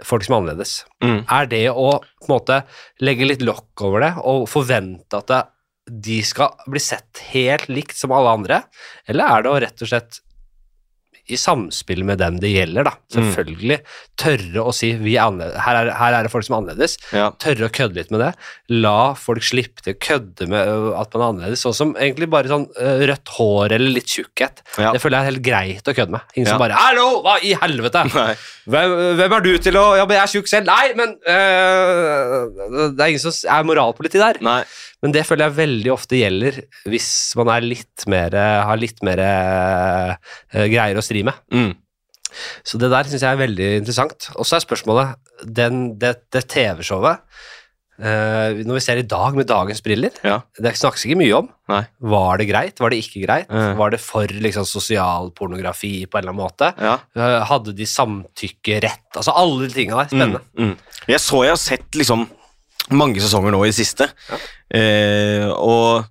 [SPEAKER 1] folk som er annerledes?
[SPEAKER 2] Mm.
[SPEAKER 1] Er det å på en måte legge litt lokk over det og forvente at det, de skal bli sett helt likt som alle andre, eller er det å rett og slett i samspill med dem det gjelder, da.
[SPEAKER 2] Mm.
[SPEAKER 1] Selvfølgelig tørre å si vi er annerledes. Her, er, her er det folk som er annerledes.
[SPEAKER 2] ja.
[SPEAKER 1] Tørre å kødde litt med det. La folk slippe til å kødde med ø, at man er annerledes. Sånn som egentlig bare sånn ø, rødt hår eller litt tjukkhet.
[SPEAKER 2] Ja.
[SPEAKER 1] Det føler jeg er helt greit å kødde med. Ingen
[SPEAKER 2] Ja.
[SPEAKER 1] som bare 'hallo, hva i helvete'?
[SPEAKER 2] Nei.
[SPEAKER 1] Hvem, hvem er du til å Ja, men jeg er tjukk selv. Nei, men øh, Det er ingen som er moralpoliti der.
[SPEAKER 2] Nei.
[SPEAKER 1] Men det føler jeg veldig ofte gjelder hvis man er litt mer, har litt mer øh, greier å stri med.
[SPEAKER 2] Mm.
[SPEAKER 1] Så det der syns jeg er veldig interessant. Og så er spørsmålet den, det, det TV-showet øh, Når vi ser i dag med dagens briller
[SPEAKER 2] Ja.
[SPEAKER 1] Det snakkes ikke mye om.
[SPEAKER 2] Nei.
[SPEAKER 1] Var det greit? Var det ikke greit?
[SPEAKER 2] Mm.
[SPEAKER 1] Var det for liksom, sosial pornografi på en eller annen måte?
[SPEAKER 2] Ja.
[SPEAKER 1] Eh, Hadde de samtykkerett? Altså alle de tinga der. Spennende.
[SPEAKER 2] Mm. Mm. Jeg så jeg har sett liksom mange sesonger nå i det siste. Eh, og